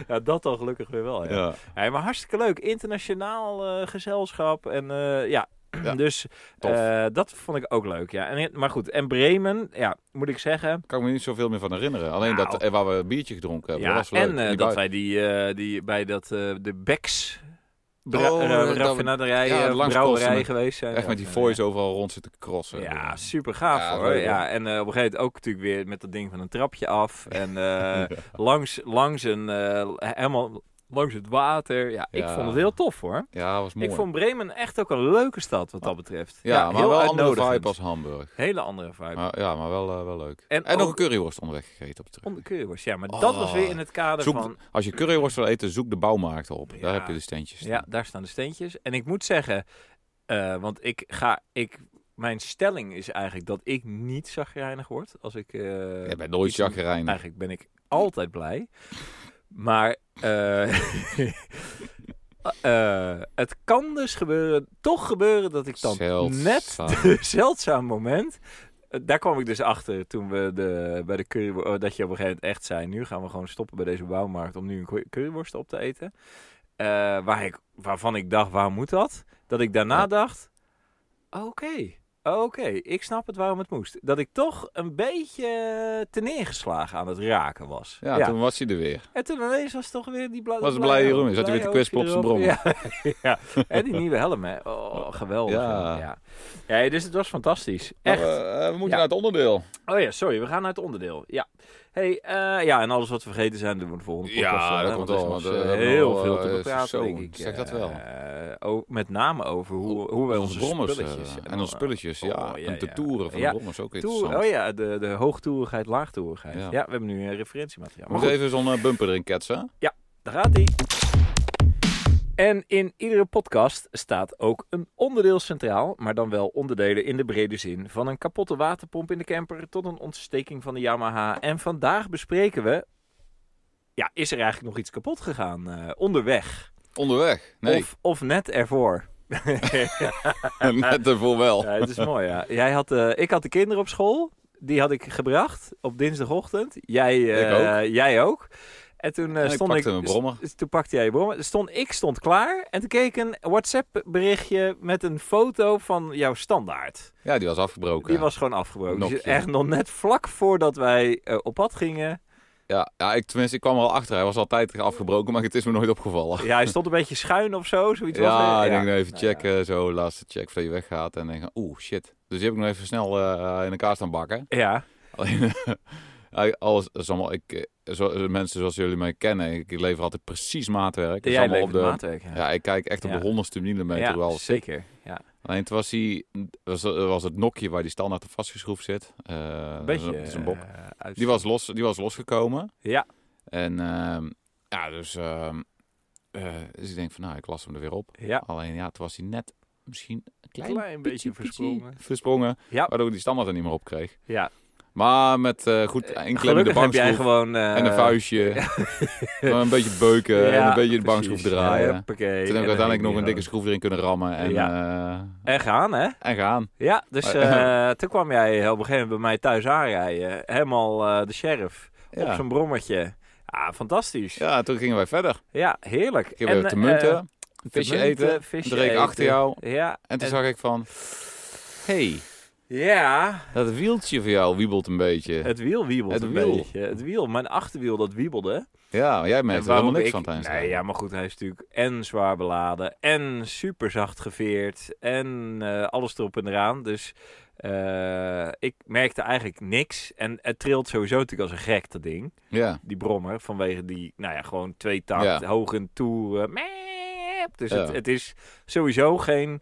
Speaker 1: Ja, dat dan gelukkig weer wel. Ja.
Speaker 2: Ja.
Speaker 1: Hey, maar hartstikke leuk. Internationaal eh, gezelschap. En eh, ja,
Speaker 2: Ja,
Speaker 1: dus
Speaker 2: tof.
Speaker 1: eh, dat vond ik ook leuk. Ja. En, maar goed, en Bremen, ja, moet ik zeggen.
Speaker 2: Kan ik me niet zoveel meer van herinneren. Alleen
Speaker 1: Nou.
Speaker 2: dat, eh, waar we een biertje gedronken hebben.
Speaker 1: ja,
Speaker 2: dat was leuk.
Speaker 1: en eh,
Speaker 2: In die
Speaker 1: dat
Speaker 2: bui-
Speaker 1: wij die, eh, die bij dat, eh, de Becks bra-
Speaker 2: Oh,
Speaker 1: eh,
Speaker 2: dat we-
Speaker 1: raffinaderij,
Speaker 2: ja,
Speaker 1: eh,
Speaker 2: langs kosten
Speaker 1: brouwerij
Speaker 2: met-
Speaker 1: geweest zijn.
Speaker 2: Echt met die voice overal rond zitten crossen.
Speaker 1: Ja, super gaaf
Speaker 2: eh, Ja,
Speaker 1: hoor.
Speaker 2: leuk,
Speaker 1: ja, en eh, op een gegeven moment ook natuurlijk weer met dat ding van een trapje af. En eh, langs, langs een, eh, helemaal langs het water. Ja, ik
Speaker 2: Ja.
Speaker 1: vond het heel tof hoor.
Speaker 2: Ja, was mooi.
Speaker 1: Ik vond Bremen echt ook een leuke stad wat dat betreft.
Speaker 2: ja, maar
Speaker 1: heel
Speaker 2: wel een andere
Speaker 1: uitnodigend.
Speaker 2: vibe als Hamburg.
Speaker 1: Hele andere vibe.
Speaker 2: Maar, ja, maar wel, eh, wel leuk.
Speaker 1: En
Speaker 2: En, nog
Speaker 1: ook-
Speaker 2: een curryworst onderweg gegeten op de terug.
Speaker 1: Om de keurworst, ja. Maar dat was weer in het kader
Speaker 2: Oh. Zoek-
Speaker 1: van...
Speaker 2: Als je curryworst wil eten, zoek de bouwmarkt op.
Speaker 1: Ja.
Speaker 2: Daar heb je de steentjes.
Speaker 1: Ja, daar staan de steentjes. En ik moet zeggen, eh, want ik ga... Ik, mijn stelling is eigenlijk dat ik niet zagrijnig word. Als ik... eh,
Speaker 2: Je bent nooit
Speaker 1: iets-
Speaker 2: chagrijnig.
Speaker 1: Eigenlijk ben ik altijd blij. Maar eh, eh, het kan dus gebeuren, toch gebeuren dat ik dan
Speaker 2: Zeldzaam.
Speaker 1: net de zeldzaam moment. eh, Daar kwam ik dus achter toen we de, bij de curryworst... dat je op een gegeven moment echt zei... nu gaan we gewoon stoppen bij deze bouwmarkt... om nu een cu- curryworst op te eten. Eh, waar ik, waarvan ik dacht, waar moet dat? Dat ik daarna
Speaker 2: Ja.
Speaker 1: dacht... Oké, oké, ik snap het waarom het moest. Dat ik toch een beetje teneergeslagen aan het raken was.
Speaker 2: Ja, toen was hij er weer.
Speaker 1: En toen ineens was het toch weer die bla
Speaker 2: Was het
Speaker 1: blij-
Speaker 2: blije Jeroen, zat hij
Speaker 1: blij
Speaker 2: weer te kwispen op zijn
Speaker 1: hoofdje erop. Ja. ja. En die nieuwe helm, hè. Oh, geweldig.
Speaker 2: Ja.
Speaker 1: Ja. ja. dus het was fantastisch. Echt.
Speaker 2: Nou, eh, eh, we moeten
Speaker 1: Ja.
Speaker 2: naar het onderdeel.
Speaker 1: Oh ja, sorry. We gaan naar het onderdeel. Ja. Hey, eh, ja, en alles wat we vergeten zijn, doen we de volgende podcast. wel,
Speaker 2: Ja,
Speaker 1: hè,
Speaker 2: dat komt
Speaker 1: want
Speaker 2: wel.
Speaker 1: er
Speaker 2: Want,
Speaker 1: is nog,
Speaker 2: eh,
Speaker 1: eh,
Speaker 2: we hebben
Speaker 1: heel
Speaker 2: al,
Speaker 1: veel
Speaker 2: eh,
Speaker 1: te bepraten,
Speaker 2: zo,
Speaker 1: denk ik.
Speaker 2: Zeg dat
Speaker 1: Eh,
Speaker 2: wel.
Speaker 1: ook met name over hoe, hoe wij onze,
Speaker 2: brommers eh,
Speaker 1: spulletjes...
Speaker 2: en onze spulletjes, ja.
Speaker 1: oh, ja,
Speaker 2: en de
Speaker 1: ja.
Speaker 2: toeren van
Speaker 1: Ja,
Speaker 2: de brommers ook
Speaker 1: Toer-
Speaker 2: interessant.
Speaker 1: oh ja, de, de hoogtoerigheid, laagtoerigheid. Ja.
Speaker 2: Ja.
Speaker 1: we hebben nu een referentiemateriaal.
Speaker 2: We
Speaker 1: Maar
Speaker 2: moeten
Speaker 1: goed,
Speaker 2: even zo'n eh, bumper erin ketsen. hè?
Speaker 1: daar gaat ie. En in iedere podcast staat ook een onderdeel centraal, maar dan wel onderdelen in de brede zin. Van een kapotte waterpomp in de camper tot een ontsteking van de Yamaha. En vandaag bespreken we, ja, is er eigenlijk nog iets kapot gegaan eh, onderweg?
Speaker 2: Onderweg. Nee,
Speaker 1: Of, of net ervoor?
Speaker 2: net ervoor wel.
Speaker 1: Ja, het is mooi, ja. Jij had, eh, ik had de kinderen op school. Die had ik gebracht op dinsdagochtend. Jij, eh, jij ook. En toen eh,
Speaker 2: En ik
Speaker 1: stond
Speaker 2: pakte een brommer.
Speaker 1: s- Toen pakte jij je brommer. Stond, ik stond klaar en toen keek ik een WhatsApp berichtje met een foto van jouw standaard.
Speaker 2: Ja, die was afgebroken.
Speaker 1: Die was gewoon afgebroken. Dus
Speaker 2: Nokje.
Speaker 1: echt nog net vlak voordat wij eh, op pad gingen.
Speaker 2: Ja, ja ik, tenminste, ik kwam er al achter. Hij was altijd afgebroken, maar het is me nooit opgevallen.
Speaker 1: Ja, hij stond een beetje schuin of zo. Zoiets was er.
Speaker 2: Ja, ik denk nou even
Speaker 1: Nou ja.
Speaker 2: checken, zo, laatste check voordat je weggaat. En denk ik, oeh, shit. Dus die heb ik nog even snel eh, in elkaar staan bakken.
Speaker 1: Ja,
Speaker 2: Alleen, eh, alles dat is allemaal, ik, eh, zo, eh, mensen zoals jullie mij kennen, ik lever altijd precies maatwerk. Dat is
Speaker 1: jij
Speaker 2: allemaal
Speaker 1: leek
Speaker 2: op
Speaker 1: het
Speaker 2: de,
Speaker 1: maatwerk. Ja,
Speaker 2: Ja, ik kijk echt op
Speaker 1: Ja.
Speaker 2: de honderdste millimeter
Speaker 1: Ja,
Speaker 2: hoe alles zit.
Speaker 1: zeker. Ja.
Speaker 2: Alleen toen was, die, was, was het nokje waar die standaard op vastgeschroefd zit. eh,
Speaker 1: Een
Speaker 2: dat is
Speaker 1: beetje
Speaker 2: dat is een bok.
Speaker 1: eh, uit-
Speaker 2: Die was, los, die was losgekomen.
Speaker 1: Ja.
Speaker 2: En ehm, ja, dus, ehm, eh, dus ik denk van, nou, ik las hem er weer op.
Speaker 1: Ja,
Speaker 2: Alleen ja, toen was hij net misschien een klein,
Speaker 1: een klein beetje versprongen.
Speaker 2: versprongen.
Speaker 1: Ja.
Speaker 2: Waardoor ik die standaard er niet meer op kreeg.
Speaker 1: Ja,
Speaker 2: Maar met eh, goed
Speaker 1: Eh,
Speaker 2: inklemmende
Speaker 1: gelukkig heb jij
Speaker 2: bankschroef
Speaker 1: gewoon... eh,
Speaker 2: en een vuistje. en een beetje beuken en
Speaker 1: ja,
Speaker 2: een beetje de
Speaker 1: precies.
Speaker 2: bankschroef draaien.
Speaker 1: Huppakee.
Speaker 2: Toen heb
Speaker 1: En
Speaker 2: ik
Speaker 1: dan
Speaker 2: uiteindelijk nog
Speaker 1: heen
Speaker 2: een dikke
Speaker 1: weer
Speaker 2: schroef erin kunnen rammen en, eh,
Speaker 1: gewoon. En gaan, hè?
Speaker 2: en gaan.
Speaker 1: Ja, dus
Speaker 2: Maar-
Speaker 1: eh, toen kwam jij op een gegeven moment bij mij thuis aanrijden. Helemaal eh, de sheriff op
Speaker 2: Ja.
Speaker 1: zo'n brommertje. Ah, fantastisch. Ja,
Speaker 2: ja, toen gingen wij verder.
Speaker 1: heerlijk.
Speaker 2: Gingen we
Speaker 1: En,
Speaker 2: te munten,
Speaker 1: eh, te
Speaker 2: visje
Speaker 1: munten,
Speaker 2: eten.
Speaker 1: visje
Speaker 2: toen reed ik
Speaker 1: eten.
Speaker 2: achter jou
Speaker 1: Ja.
Speaker 2: en toen
Speaker 1: en-
Speaker 2: zag ik van... hey,
Speaker 1: Ja,
Speaker 2: dat wieltje van jou wiebelt een beetje.
Speaker 1: het wiel wiebelde
Speaker 2: Het
Speaker 1: een
Speaker 2: wiel.
Speaker 1: beetje. Het wiel, mijn achterwiel dat wiebelde.
Speaker 2: Ja, maar jij merkt er
Speaker 1: Waarom
Speaker 2: helemaal niks
Speaker 1: ik-
Speaker 2: van tijdens de
Speaker 1: Nee,
Speaker 2: rijden.
Speaker 1: ja, maar goed, hij is natuurlijk en zwaar beladen en super zacht geveerd en eh, alles erop en eraan. Dus eh, ik merkte eigenlijk niks. En het trilt sowieso natuurlijk als een gek, dat ding,
Speaker 2: Ja,
Speaker 1: die brommer, vanwege die, nou ja, gewoon twee takt,
Speaker 2: Ja.
Speaker 1: hoog en toe. eh, meep. dus
Speaker 2: Ja.
Speaker 1: het, het is sowieso geen,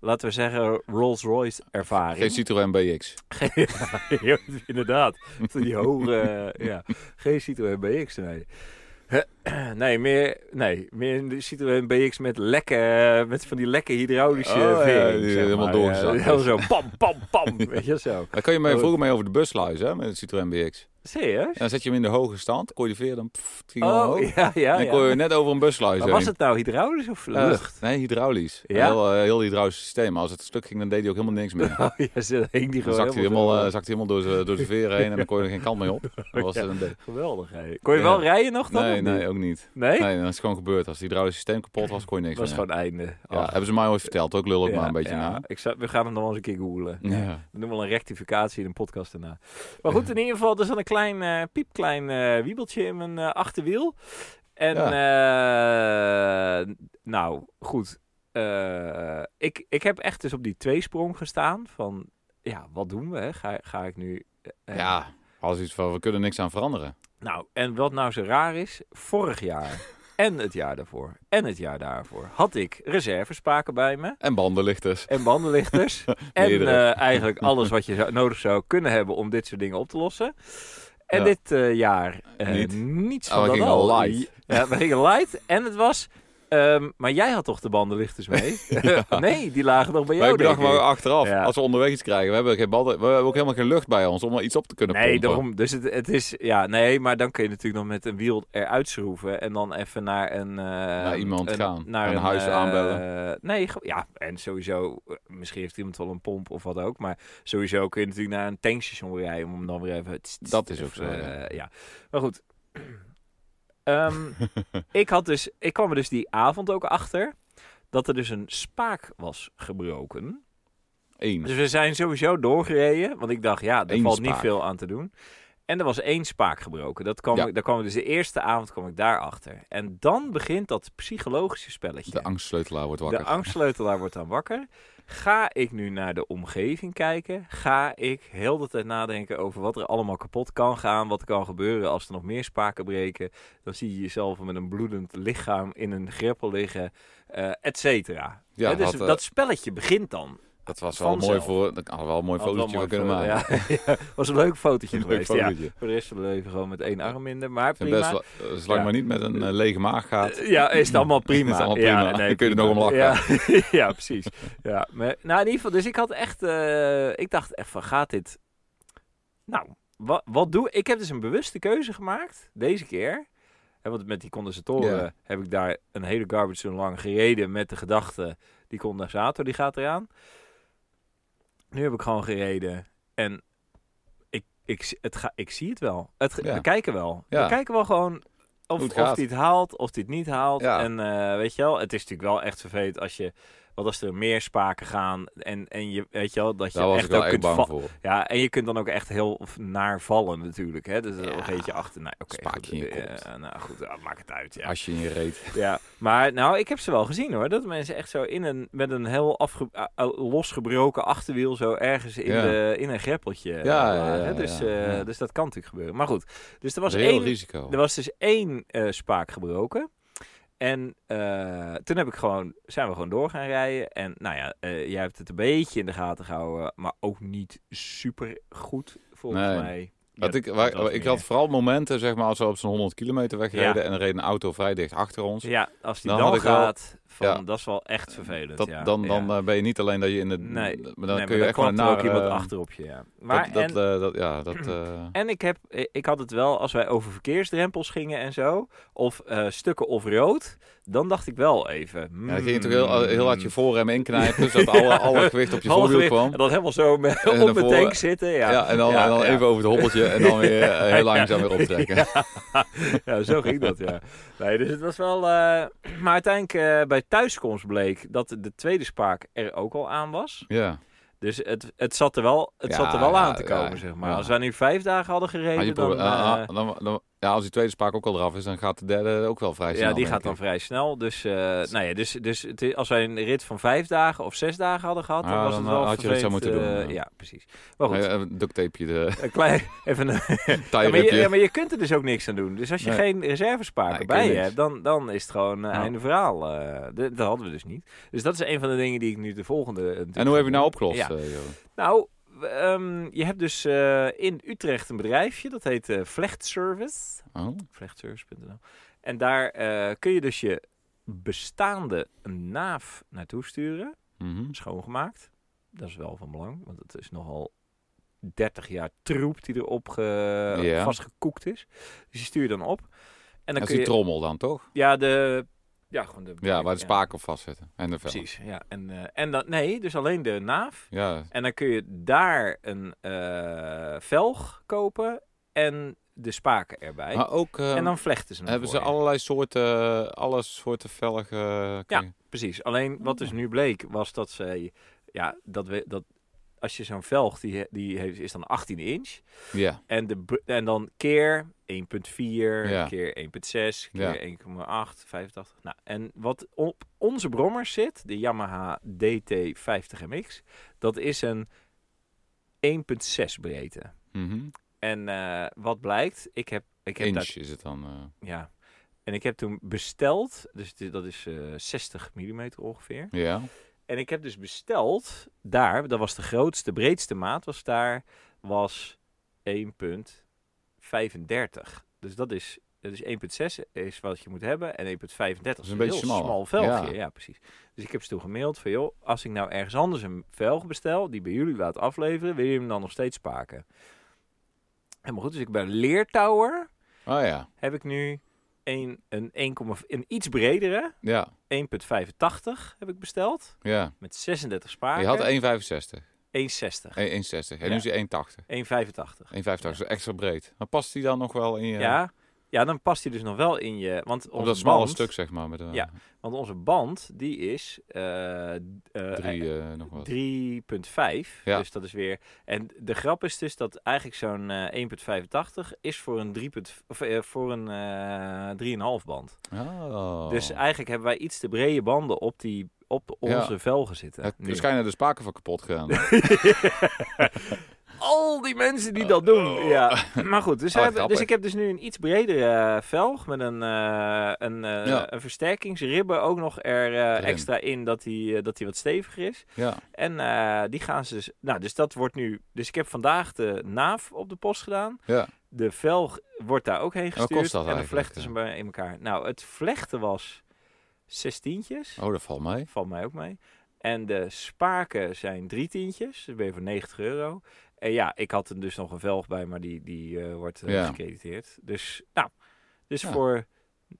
Speaker 1: laten we zeggen, Rolls Royce ervaring.
Speaker 2: geen Citroën BX.
Speaker 1: Ja, inderdaad. Van Die hoge, eh, ja. Geen Citroën BX, nee. Nee, meer, nee, meer een Citroën BX met lekke, met van die lekke hydraulische
Speaker 2: Oh, ja,
Speaker 1: vering,
Speaker 2: die
Speaker 1: zeg
Speaker 2: helemaal
Speaker 1: maar.
Speaker 2: doorgezakt
Speaker 1: Ja, helemaal zo, pam, pam, pam, weet je zo.
Speaker 2: Daar kan je
Speaker 1: Oh.
Speaker 2: mee vroeger mee over de busluis, hè, met het Citroën BX.
Speaker 1: Serieus?
Speaker 2: En dan zet je hem in de hoge stand, kon je de veer dan... Pff, het ging
Speaker 1: Oh,
Speaker 2: omhoog.
Speaker 1: ja, ja,
Speaker 2: en dan kon je
Speaker 1: ja.
Speaker 2: net over een busluis
Speaker 1: Maar
Speaker 2: heen.
Speaker 1: was het nou hydraulisch of
Speaker 2: Eh,
Speaker 1: lucht?
Speaker 2: nee, hydraulisch.
Speaker 1: Ja?
Speaker 2: Heel, eh, heel hydraulisch systeem. Maar als het stuk ging, dan deed hij ook helemaal niks meer.
Speaker 1: Oh, ja, ze hing die
Speaker 2: Dan
Speaker 1: gewoon
Speaker 2: zakte hij helemaal,
Speaker 1: door.
Speaker 2: eh, zakte hij helemaal door, z'n- door de veren heen en dan kon je er geen kant mee op. Dat was
Speaker 1: Ja.
Speaker 2: het een de-
Speaker 1: Geweldig, hè. Kon je
Speaker 2: eh, Ja.
Speaker 1: wel rijden nog dan?
Speaker 2: nee,
Speaker 1: of niet?
Speaker 2: nee, ook niet.
Speaker 1: Nee?
Speaker 2: Nee, dat is gewoon gebeurd. Als het hydraulisch systeem kapot was, kon je niks
Speaker 1: was
Speaker 2: meer.
Speaker 1: gewoon einde.
Speaker 2: Ja,
Speaker 1: Ach,
Speaker 2: hebben ze mij ooit verteld. Ook lul ik maar een beetje
Speaker 1: ja.
Speaker 2: na.
Speaker 1: Ik zou, we gaan hem nog eens een keer googlen.
Speaker 2: Ja.
Speaker 1: We doen wel een rectificatie in een podcast daarna. Maar goed, in ieder geval, er zat een klein, eh, piepklein eh, wiebeltje in mijn eh, achterwiel. En, eh, nou, goed. Eh, ik, ik heb echt dus op die tweesprong gestaan van, ja, wat doen we? Hè? Ga, ga ik nu... eh,
Speaker 2: ja, als iets van, we kunnen niks aan veranderen.
Speaker 1: Nou, en wat nou zo raar is, vorig jaar en het jaar daarvoor en het jaar daarvoor had ik reservespaken bij me.
Speaker 2: En dus. bandenlichters.
Speaker 1: En bandenlichters. en
Speaker 2: Meerdere.
Speaker 1: eh, eigenlijk alles wat je zou- nodig zou kunnen hebben om dit soort dingen op te lossen. En
Speaker 2: Ja.
Speaker 1: dit eh, jaar eh,
Speaker 2: Niet.
Speaker 1: niets
Speaker 2: Oh,
Speaker 1: van
Speaker 2: we
Speaker 1: dat
Speaker 2: gingen
Speaker 1: al.
Speaker 2: light.
Speaker 1: Ja, we gingen light. En het was... ehm, maar jij had toch de bandenlichters mee? nee, die lagen nog bij
Speaker 2: Wij
Speaker 1: jou.
Speaker 2: bedachten
Speaker 1: denk ik.
Speaker 2: maar achteraf,
Speaker 1: Ja.
Speaker 2: als we onderweg iets krijgen, we hebben, geen banden, we hebben ook helemaal geen lucht bij ons om er iets op te kunnen
Speaker 1: Nee,
Speaker 2: pompen.
Speaker 1: daarom. Dus het, het is... Ja, nee, maar dan kun je natuurlijk nog met een wiel eruit schroeven. En dan even naar een... eh,
Speaker 2: iemand
Speaker 1: een-
Speaker 2: gaan.
Speaker 1: Naar
Speaker 2: Een huis
Speaker 1: eh,
Speaker 2: aanbellen.
Speaker 1: Nee, ge- ja. En sowieso... eh, Misschien heeft iemand wel een pomp of wat ook. Maar sowieso kun je natuurlijk naar een tankstation rijden. Om hem dan weer even... tss, tss,
Speaker 2: Dat is ook zo,
Speaker 1: even,
Speaker 2: ja.
Speaker 1: eh, ja. Maar goed. Ehm, ik, had dus, ik kwam er dus die avond ook achter... Dat er dus een spaak was gebroken.
Speaker 2: Eén.
Speaker 1: Dus we zijn sowieso doorgereden, want ik dacht, ja, er
Speaker 2: Eén
Speaker 1: valt niet
Speaker 2: spaak.
Speaker 1: veel aan te doen. En er was één spaak gebroken. Dat kwam,
Speaker 2: Ja.
Speaker 1: ik, daar kwam ik dus de eerste avond kwam ik daarachter. En dan begint dat psychologische spelletje.
Speaker 2: De angstsleutelaar wordt
Speaker 1: De
Speaker 2: wakker.
Speaker 1: angstleutelaar wordt dan wakker. Ga ik nu naar de omgeving kijken? Ga ik heel de tijd nadenken over wat er allemaal kapot kan gaan? Wat er kan gebeuren als er nog meer spaken breken? Dan zie je jezelf met een bloedend lichaam in een greppel liggen, eh et cetera.
Speaker 2: Ja,
Speaker 1: Hè, dus
Speaker 2: dat, eh,
Speaker 1: dat spelletje begint dan.
Speaker 2: dat was wel mooi
Speaker 1: vanzelf.
Speaker 2: voor... Dat hadden we wel een mooi
Speaker 1: Had wel
Speaker 2: fotootje van kunnen
Speaker 1: mooi
Speaker 2: maken.
Speaker 1: foto- Ja, ja, was een leuk fotootje
Speaker 2: Een leuk
Speaker 1: geweest. Ja.
Speaker 2: fotootje. Ik
Speaker 1: Voor de rest van het leven gewoon met één arm minder, maar
Speaker 2: vind
Speaker 1: prima.
Speaker 2: best wel- zolang
Speaker 1: Ja.
Speaker 2: maar niet met een eh, lege maag gaat.
Speaker 1: Eh, Ja, is het allemaal prima.
Speaker 2: Is het allemaal
Speaker 1: ja,
Speaker 2: prima. Dan kun je er nog om lachen.
Speaker 1: Ja, ja precies. Ja, maar, nou, in ieder geval, dus ik had echt, eh, ik dacht echt van, gaat dit... Nou, wat, wat doe ik? heb dus een bewuste keuze gemaakt, deze keer. Hè, want met die condensatoren
Speaker 2: Ja.
Speaker 1: heb ik daar een hele garbage zo lang gereden met de gedachte, die condensator die gaat eraan. Nu heb ik gewoon gereden en ik, ik, zie- het ga, ik zie het wel. Het,
Speaker 2: Ja.
Speaker 1: We kijken wel.
Speaker 2: Ja.
Speaker 1: We kijken wel gewoon of,
Speaker 2: Hoe het
Speaker 1: of
Speaker 2: gaat.
Speaker 1: die het haalt, of die het niet haalt.
Speaker 2: Ja.
Speaker 1: En eh, weet je wel, het is natuurlijk wel echt vervelend als je... Want als er meer spaken gaan en, en je weet je wel, dat je
Speaker 2: Daar was ik
Speaker 1: echt
Speaker 2: wel
Speaker 1: ook
Speaker 2: echt
Speaker 1: kunt
Speaker 2: bang
Speaker 1: vallen.
Speaker 2: voor.
Speaker 1: Ja, en je kunt dan ook echt heel v- naar vallen natuurlijk. Hè? Dus
Speaker 2: Ja.
Speaker 1: dan geet je achter. Nou, oké,
Speaker 2: Spaak
Speaker 1: goed,
Speaker 2: in je
Speaker 1: eh,
Speaker 2: kont.
Speaker 1: nou goed, ah, maak het uit. Ja.
Speaker 2: Als je in je reet.
Speaker 1: ja. Maar nou, ik heb ze wel gezien hoor. Dat mensen echt zo in een, met een heel afge, ah, ah, losgebroken achterwiel zo ergens in,
Speaker 2: Ja.
Speaker 1: de, in een greppeltje. eh,
Speaker 2: ja, ja,
Speaker 1: lagen.
Speaker 2: ja,
Speaker 1: dus,
Speaker 2: ja.
Speaker 1: eh,
Speaker 2: Ja.
Speaker 1: dus dat kan natuurlijk gebeuren. Maar goed, dus er was
Speaker 2: Reëel
Speaker 1: één
Speaker 2: risico.
Speaker 1: er was dus één eh, spaak gebroken. En eh, toen heb ik gewoon, zijn we gewoon door gaan rijden. En nou ja, eh, jij hebt het een beetje in de gaten gehouden, maar ook niet super goed volgens
Speaker 2: Nee.
Speaker 1: mij.
Speaker 2: Want
Speaker 1: Ja,
Speaker 2: ik, waar-
Speaker 1: dat was
Speaker 2: ik
Speaker 1: meer.
Speaker 2: had vooral momenten, zeg maar, als we op zo'n 100 kilometer wegreden en er reed een auto vrij dicht achter ons.
Speaker 1: Ja, als die
Speaker 2: Dan
Speaker 1: dan,
Speaker 2: had ik wel-
Speaker 1: gaat, van,
Speaker 2: ja.
Speaker 1: dat is wel echt vervelend.
Speaker 2: Dat,
Speaker 1: ja.
Speaker 2: dan
Speaker 1: ja.
Speaker 2: dan eh, ben je niet alleen dat je in de...
Speaker 1: Nee,
Speaker 2: maar
Speaker 1: Nee,
Speaker 2: dan
Speaker 1: maar
Speaker 2: kun je echt maar
Speaker 1: klapt er
Speaker 2: naar...
Speaker 1: ook iemand
Speaker 2: eh,
Speaker 1: achter op je. Ja. Maar
Speaker 2: dat,
Speaker 1: en,
Speaker 2: dat, eh, dat, ja, dat... eh,
Speaker 1: En ik, heb, ik had het wel, als wij over verkeersdrempels gingen en zo, of eh, stukken of rood, dan dacht ik wel even.
Speaker 2: ja, dan ging je toch heel, eh,
Speaker 1: mm,
Speaker 2: heel hard je voorrem inknijpen, zodat alle, alle gewicht op je
Speaker 1: Half
Speaker 2: voorwiel
Speaker 1: weer-
Speaker 2: kwam.
Speaker 1: En dan helemaal zo met, op mijn
Speaker 2: daarvoor-
Speaker 1: tank zitten. Ja,
Speaker 2: Ja, en dan,
Speaker 1: Ja,
Speaker 2: en dan
Speaker 1: ja.
Speaker 2: even over het hobbeltje en dan weer eh, heel langzaam weer optrekken.
Speaker 1: Ja. Ja, zo ging dat, ja. Nee, dus het was wel... eh, Maar uiteindelijk eh, bij thuiskomst bleek dat de tweede spaak er ook al aan was.
Speaker 2: Ja.
Speaker 1: Dus het, het zat er wel, het
Speaker 2: Ja,
Speaker 1: zat er wel
Speaker 2: ja,
Speaker 1: aan te komen,
Speaker 2: ja,
Speaker 1: zeg maar.
Speaker 2: ja.
Speaker 1: Als wij nu vijf dagen hadden
Speaker 2: Maar je
Speaker 1: gereden, dan...
Speaker 2: probeert- ah,
Speaker 1: eh,
Speaker 2: ah, dan- dan- ja, als die tweede spaak ook al eraf is, dan gaat de derde ook wel vrij
Speaker 1: ja,
Speaker 2: snel.
Speaker 1: die
Speaker 2: denk
Speaker 1: gaat dan
Speaker 2: ik.
Speaker 1: vrij snel. Dus, eh, nou ja, dus, dus het is- als wij een rit van vijf dagen of zes dagen hadden gehad, dan
Speaker 2: Ah,
Speaker 1: was
Speaker 2: dan,
Speaker 1: het wel
Speaker 2: eh, had je dat zo
Speaker 1: vervelend,
Speaker 2: moeten doen,
Speaker 1: eh,
Speaker 2: ja.
Speaker 1: ja, precies. Maar goed,
Speaker 2: Ja, Even Eh, duct tape je de
Speaker 1: een klein, even een, Ja, maar, je,
Speaker 2: tijripje.
Speaker 1: ja, maar je kunt er dus ook niks aan doen. Dus als je
Speaker 2: Nee.
Speaker 1: geen reservespaken
Speaker 2: Nee, kun
Speaker 1: bij
Speaker 2: je
Speaker 1: je
Speaker 2: niks. Nou.
Speaker 1: hebt, dan, dan is het gewoon eh
Speaker 2: Ja.
Speaker 1: einde verhaal. eh. De- dat hadden we dus niet. Dus dat is een van de dingen die ik nu de volgende... eh,
Speaker 2: En hoe heb je nou opgelost?
Speaker 1: Ja.
Speaker 2: eh, joh?
Speaker 1: Nou, w- ehm, je hebt dus eh, in Utrecht een bedrijfje, dat heet eh Vlecht Service.
Speaker 2: Oh,
Speaker 1: Vlechtservice.nl. En daar eh, kun je dus je bestaande naaf naartoe sturen,
Speaker 2: mhm.
Speaker 1: schoongemaakt. Dat is wel van belang, want het is nogal 30 jaar troep die erop ge-
Speaker 2: Ja.
Speaker 1: vastgekoekt is. Dus die stuur je dan op. En dan
Speaker 2: Dat is
Speaker 1: kun
Speaker 2: die
Speaker 1: je...
Speaker 2: trommel dan, toch?
Speaker 1: Ja, de... Ja, gewoon de...
Speaker 2: Ja, waar de spaken op vastzitten. En de vel.
Speaker 1: Precies, ja. En, eh, en dan... Nee, dus alleen de naaf.
Speaker 2: Ja,
Speaker 1: En dan kun je daar een eh, velg kopen en de spaken erbij.
Speaker 2: maar ook eh,
Speaker 1: en dan vlechten ze hem
Speaker 2: hebben
Speaker 1: voor
Speaker 2: ze
Speaker 1: je.
Speaker 2: allerlei soorten, alle soorten velgen. eh, kun je-
Speaker 1: Precies. Alleen wat
Speaker 2: Oh.
Speaker 1: dus nu bleek was dat zij, ja, dat we dat als je zo'n velg die, he- die heeft, is dan 18 inch
Speaker 2: ja.
Speaker 1: en de br- en dan keer 1.4
Speaker 2: Ja.
Speaker 1: keer 1.6 keer
Speaker 2: Ja.
Speaker 1: 1,8 85. Nou, en wat op onze brommers zit, de Yamaha DT50MX, dat is een 1.6 breedte.
Speaker 2: Mhm.
Speaker 1: En eh, wat blijkt, ik heb ik heb
Speaker 2: Inch
Speaker 1: daar
Speaker 2: is het dan. eh.
Speaker 1: ja. En ik heb toen besteld, dus dit- dat is eh 60 mm ongeveer.
Speaker 2: Ja.
Speaker 1: En ik heb dus besteld daar, dat was de grootste, breedste maat was daar, was 1,35. Dus dat is, dat is 1,6 is wat je moet hebben en 1,35 is een,
Speaker 2: is een beetje
Speaker 1: heel
Speaker 2: smaller.
Speaker 1: smal velgje.
Speaker 2: Ja.
Speaker 1: Ja. precies. Dus ik heb ze toen gemaild van, joh, als ik nou ergens anders een velg bestel, die bij jullie laat afleveren, wil je hem dan nog steeds spaken? Helemaal goed, dus ik ben Leertower,
Speaker 2: Oh ja.
Speaker 1: heb ik nu een, een, 1,5 een iets bredere,
Speaker 2: Ja.
Speaker 1: 1,85 heb ik besteld,
Speaker 2: Ja.
Speaker 1: met 36 spaken.
Speaker 2: Je had 1,65.
Speaker 1: 1,60.
Speaker 2: 1,60. En
Speaker 1: Ja.
Speaker 2: nu is hij 1,80.
Speaker 1: 1,85.
Speaker 2: 1,85 is extra breed. Maar past die dan nog wel in je...
Speaker 1: Ja. ja. dan past hij dus nog wel in je... Want
Speaker 2: Op
Speaker 1: onze
Speaker 2: dat smalle
Speaker 1: band,
Speaker 2: stuk, zeg maar. Met eh, de,
Speaker 1: Ja. Want onze band, die is eh, eh,
Speaker 2: Drie,
Speaker 1: eh,
Speaker 2: eh, nog wat.
Speaker 1: 3,5.
Speaker 2: Ja.
Speaker 1: Dus dat is weer... En de grap is dus dat eigenlijk zo'n eh 1,85 is voor een, 3, of, eh, voor een eh 3,5 band.
Speaker 2: Oh.
Speaker 1: Dus eigenlijk hebben wij iets te brede banden op, die, op
Speaker 2: Ja.
Speaker 1: onze velgen zitten.
Speaker 2: Het-
Speaker 1: nu.
Speaker 2: Waarschijnlijk de spaken van kapot gedaan.
Speaker 1: Al die mensen die dat doen. Ja. Maar goed, dus,
Speaker 2: Oh, wat
Speaker 1: hebben- dus
Speaker 2: grappig.
Speaker 1: ik heb dus nu een iets bredere eh, velg met een, eh, een, eh,
Speaker 2: Ja.
Speaker 1: een versterkingsribben ook nog er eh,
Speaker 2: Erin.
Speaker 1: extra in dat die, eh, dat die wat steviger is.
Speaker 2: ja.
Speaker 1: En eh, die gaan ze dus... Nou, dus dat wordt nu... Dus ik heb vandaag de naaf op de post gedaan.
Speaker 2: Ja.
Speaker 1: De velg wordt daar ook heen
Speaker 2: wat kost
Speaker 1: gestuurd.
Speaker 2: dat
Speaker 1: en dan
Speaker 2: eigenlijk,
Speaker 1: vlechten ze bij in elkaar. Nou, het vlechten was zestientjes.
Speaker 2: Oh, dat valt mee.
Speaker 1: Valt mij ook mee. En de spaken zijn drie tientjes. Dus ben je voor 90 euro. En ja, ik had er dus nog een velg bij, maar die, die eh, wordt eh,
Speaker 2: Ja.
Speaker 1: gecrediteerd. Dus, nou, dus
Speaker 2: Ja.
Speaker 1: voor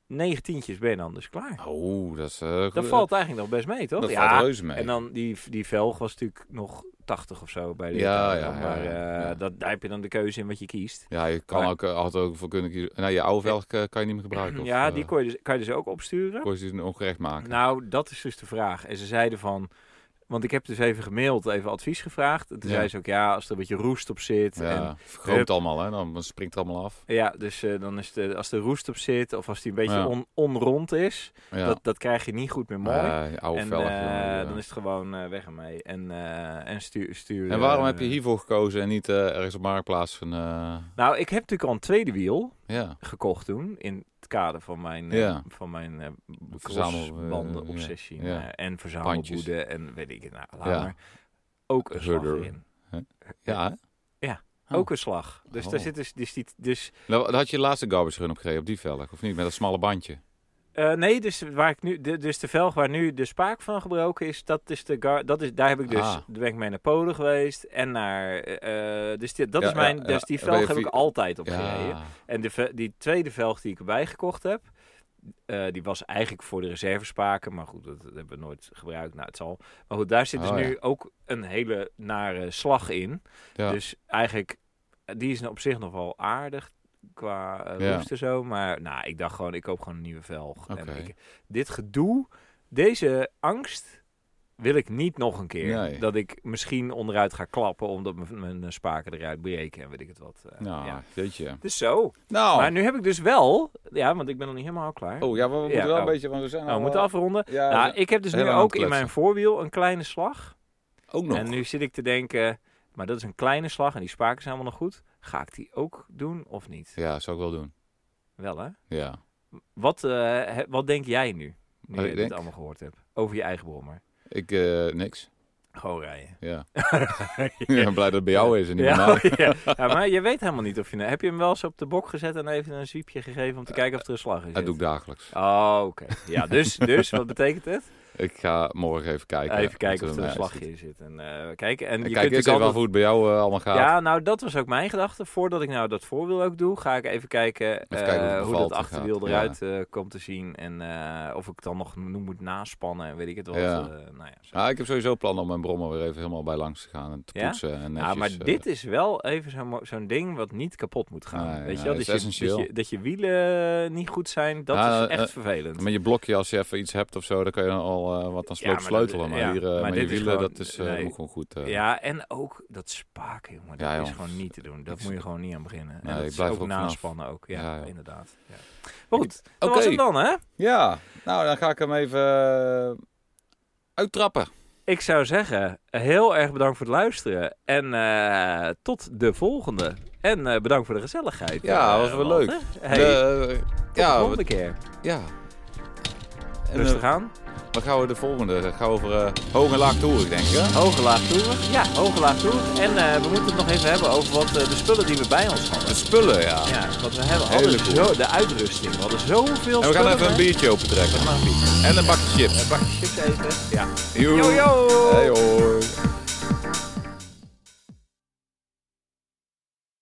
Speaker 1: negen tientjes ben je dan dus klaar.
Speaker 2: Oh, dat is... eh,
Speaker 1: Dat
Speaker 2: goed.
Speaker 1: valt eigenlijk nog best mee, toch?
Speaker 2: Dat
Speaker 1: ja.
Speaker 2: valt reuze mee.
Speaker 1: En dan die, die velg was natuurlijk nog 80 of zo bij de
Speaker 2: Ja,
Speaker 1: Italiaan,
Speaker 2: ja, ja,
Speaker 1: Maar eh,
Speaker 2: ja.
Speaker 1: Dat, daar heb je dan de keuze in wat je kiest.
Speaker 2: Ja, je kan
Speaker 1: Maar-
Speaker 2: ook, eh, had ook voor kunnen kiezen. Nou, je oude velg eh, kan je niet meer gebruiken. Of,
Speaker 1: ja,
Speaker 2: eh,
Speaker 1: die kon je dus, kan je dus ook opsturen.
Speaker 2: kon je ze ongerecht maken.
Speaker 1: Nou, dat is dus de vraag. En ze zeiden van... Want ik heb dus even gemaild, even advies gevraagd. En toen
Speaker 2: Ja.
Speaker 1: zei ze ook, ja, als er een beetje roest op zit.
Speaker 2: ja,
Speaker 1: En, Hup.
Speaker 2: vergroomt allemaal, hè. Dan springt het allemaal af.
Speaker 1: ja dus eh, dan is de, als er roest op zit of als die een beetje
Speaker 2: Ja.
Speaker 1: on, onrond is,
Speaker 2: Ja.
Speaker 1: dat, dat krijg je niet goed meer mooi.
Speaker 2: Ja, je oude
Speaker 1: en
Speaker 2: velg.
Speaker 1: eh,
Speaker 2: ja.
Speaker 1: dan is het gewoon eh, weg ermee. En, eh, en stuur, stuur...
Speaker 2: En waarom
Speaker 1: eh,
Speaker 2: heb je hiervoor gekozen en niet eh, ergens op Marktplaats van... eh,
Speaker 1: Nou, ik heb natuurlijk al een tweede wiel
Speaker 2: ja,
Speaker 1: gekocht toen. In het kader van mijn, eh,
Speaker 2: Ja.
Speaker 1: van mijn eh
Speaker 2: Verzamel-
Speaker 1: crossbanden
Speaker 2: eh,
Speaker 1: obsessie.
Speaker 2: ja, ja.
Speaker 1: eh, en verzamelboede en weet ik het nou, laat
Speaker 2: Ja.
Speaker 1: maar. Ook een slag
Speaker 2: Hurder.
Speaker 1: in.
Speaker 2: ja hè? Oh.
Speaker 1: Ook een slag. Dus daar
Speaker 2: Oh.
Speaker 1: zit dus, dus, die, dus
Speaker 2: Nou, daar had je de laatste garbage run op gereden, op die velg, of niet? Met dat smalle bandje.
Speaker 1: eh, nee, dus waar ik nu, de, dus de velg waar nu de spaak van gebroken is, dat is de gar, dat is, daar heb ik dus,
Speaker 2: Ah.
Speaker 1: daar ben ik mee naar Polen geweest en naar, eh, eh, dus die, dat
Speaker 2: Ja,
Speaker 1: is mijn,
Speaker 2: ja,
Speaker 1: dus
Speaker 2: ja.
Speaker 1: die
Speaker 2: Ben
Speaker 1: velg
Speaker 2: je
Speaker 1: heb ik
Speaker 2: vi-
Speaker 1: altijd op gereden.
Speaker 2: Ja,
Speaker 1: En de, ve- die tweede velg die ik erbij gekocht heb, eh, die was eigenlijk voor de reservespaken. Maar goed, dat, dat hebben we nooit gebruikt. Nou, het zal. Maar goed, daar zit dus
Speaker 2: Oh, ja.
Speaker 1: nu ook een hele nare slag in.
Speaker 2: ja.
Speaker 1: Dus eigenlijk, eh, die is op zich nog wel aardig qua eh
Speaker 2: Ja.
Speaker 1: roest en zo. Maar nou, ik dacht gewoon, ik koop gewoon een nieuwe velg.
Speaker 2: Oké.
Speaker 1: En ik, dit gedoe, deze angst wil ik niet nog een keer.
Speaker 2: Nee.
Speaker 1: Dat ik misschien onderuit ga klappen omdat mijn, mijn eh, spaken eruit breken en weet ik het wat. Eh,
Speaker 2: Nou,
Speaker 1: ja.
Speaker 2: jeetje.
Speaker 1: Dus zo.
Speaker 2: Nou,
Speaker 1: Maar nu heb ik dus wel, ja, want ik ben nog niet helemaal klaar.
Speaker 2: oh ja, we, we
Speaker 1: Ja,
Speaker 2: moeten wel
Speaker 1: oh.
Speaker 2: een beetje, want we zijn
Speaker 1: nou, we
Speaker 2: al,
Speaker 1: moeten
Speaker 2: eh,
Speaker 1: afronden.
Speaker 2: Ja,
Speaker 1: nou, ik heb dus nu
Speaker 2: helemaal aan
Speaker 1: ook
Speaker 2: het
Speaker 1: in mijn
Speaker 2: kletsen.
Speaker 1: voorwiel een kleine slag.
Speaker 2: ook nog.
Speaker 1: En nu zit ik te denken, maar dat is een kleine slag en die spaken zijn allemaal nog goed. Ga ik die ook doen of niet?
Speaker 2: Ja, zou ik wel doen.
Speaker 1: Wel hè?
Speaker 2: Ja.
Speaker 1: Wat, eh, he- wat denk jij nu, nu
Speaker 2: Wat
Speaker 1: je dit
Speaker 2: ik denk?
Speaker 1: allemaal gehoord hebt? Over je eigen brommer.
Speaker 2: Ik, eh, niks.
Speaker 1: Gewoon rijden.
Speaker 2: Ja. ik ben blij dat het bij jou is en niet bij
Speaker 1: Ja,
Speaker 2: mij.
Speaker 1: ja. Ja, maar je weet helemaal niet of je... nou- Heb je hem wel eens op de bok gezet en even een zwiepje gegeven om
Speaker 2: Eh,
Speaker 1: te kijken of er een slag is?
Speaker 2: Dat doe ik dagelijks.
Speaker 1: Oh, oké. Ja, dus, dus wat betekent het?
Speaker 2: Ik ga morgen even kijken.
Speaker 1: Even kijken
Speaker 2: Wat
Speaker 1: of er een
Speaker 2: mij
Speaker 1: slagje
Speaker 2: zit.
Speaker 1: in zit. En, eh, kijken. en
Speaker 2: En
Speaker 1: je kunt
Speaker 2: kijk eerst
Speaker 1: natuurlijk
Speaker 2: even
Speaker 1: altijd...
Speaker 2: af hoe het bij jou eh, allemaal gaat.
Speaker 1: Ja, nou dat was ook mijn gedachte. Voordat ik nou dat voorwiel ook doe, ga ik even kijken, eh,
Speaker 2: kijken hoe het
Speaker 1: hoe
Speaker 2: bevalt
Speaker 1: dat
Speaker 2: en
Speaker 1: achterwiel
Speaker 2: gaat.
Speaker 1: eruit eh, komt te zien. En eh, of ik dan nog nu moet naspannen en weet ik het wel.
Speaker 2: Ja.
Speaker 1: nou ja, zo.
Speaker 2: Ah, ik heb sowieso plan om mijn brommer weer even helemaal bij langs te gaan en te
Speaker 1: Ja?
Speaker 2: poetsen. En netjes,
Speaker 1: Ja, maar
Speaker 2: eh,
Speaker 1: dit is wel even zo'n mo- zo'n ding wat niet kapot moet gaan.
Speaker 2: Nee,
Speaker 1: Weet je
Speaker 2: nee,
Speaker 1: wel,
Speaker 2: dat
Speaker 1: dat,
Speaker 2: is
Speaker 1: je, dat,
Speaker 2: essentieel.
Speaker 1: je, dat je wielen niet goed zijn, dat
Speaker 2: Ja,
Speaker 1: is echt
Speaker 2: eh,
Speaker 1: vervelend.
Speaker 2: Met je blokje, als je even iets hebt of zo, dan kan je dan al eh, wat aan
Speaker 1: Ja,
Speaker 2: sloop
Speaker 1: maar dat-
Speaker 2: sleutelen. Maar
Speaker 1: ja,
Speaker 2: hier, eh,
Speaker 1: maar
Speaker 2: met
Speaker 1: dit
Speaker 2: je
Speaker 1: is
Speaker 2: wielen,
Speaker 1: gewoon-
Speaker 2: dat is eh,
Speaker 1: nee.
Speaker 2: moet gewoon goed. eh,
Speaker 1: Ja, en ook dat spaken, jongen. Dat
Speaker 2: Ja,
Speaker 1: is
Speaker 2: jongen.
Speaker 1: gewoon niet te doen. Dat
Speaker 2: Ik-
Speaker 1: moet je gewoon niet aan beginnen.
Speaker 2: Nee,
Speaker 1: en
Speaker 2: ik
Speaker 1: dat is
Speaker 2: blijf er
Speaker 1: ook
Speaker 2: ook vanaf.
Speaker 1: naspannen ook. Ja,
Speaker 2: Ja, joh.
Speaker 1: inderdaad. Ja. Maar goed, dat
Speaker 2: Oké.
Speaker 1: was hem dan, hè?
Speaker 2: Ja, nou dan ga ik hem even eh, uittrappen.
Speaker 1: Ik zou zeggen, heel erg bedankt voor het luisteren. En eh, tot de volgende. En eh, bedankt voor de gezelligheid.
Speaker 2: Ja,
Speaker 1: eh,
Speaker 2: was wel
Speaker 1: Walter.
Speaker 2: leuk.
Speaker 1: Hey,
Speaker 2: De- eh,
Speaker 1: de
Speaker 2: Ja,
Speaker 1: volgende
Speaker 2: wat-
Speaker 1: keer.
Speaker 2: Ja. En
Speaker 1: Rustig
Speaker 2: eh,
Speaker 1: aan.
Speaker 2: wat gaan we de volgende? Dan gaan we over eh, hoog en laag toerig, denk ik. hè?
Speaker 1: Hoge laag toerig. Ja, hoge laag toerig. En eh, we moeten het nog even hebben over wat, eh, de spullen die we bij ons hadden.
Speaker 2: De spullen, ja.
Speaker 1: Ja, want we hebben hadden
Speaker 2: Hele cool.
Speaker 1: zo, de uitrusting. We hadden zoveel
Speaker 2: En we gaan
Speaker 1: spullen
Speaker 2: even een
Speaker 1: bij.
Speaker 2: biertje open trekken.
Speaker 1: Maar een biertje.
Speaker 2: En een bakje chips.
Speaker 1: Een bakje chips eten. Ja.
Speaker 2: Joe.
Speaker 1: Yo, yo.
Speaker 2: Hey, hoi.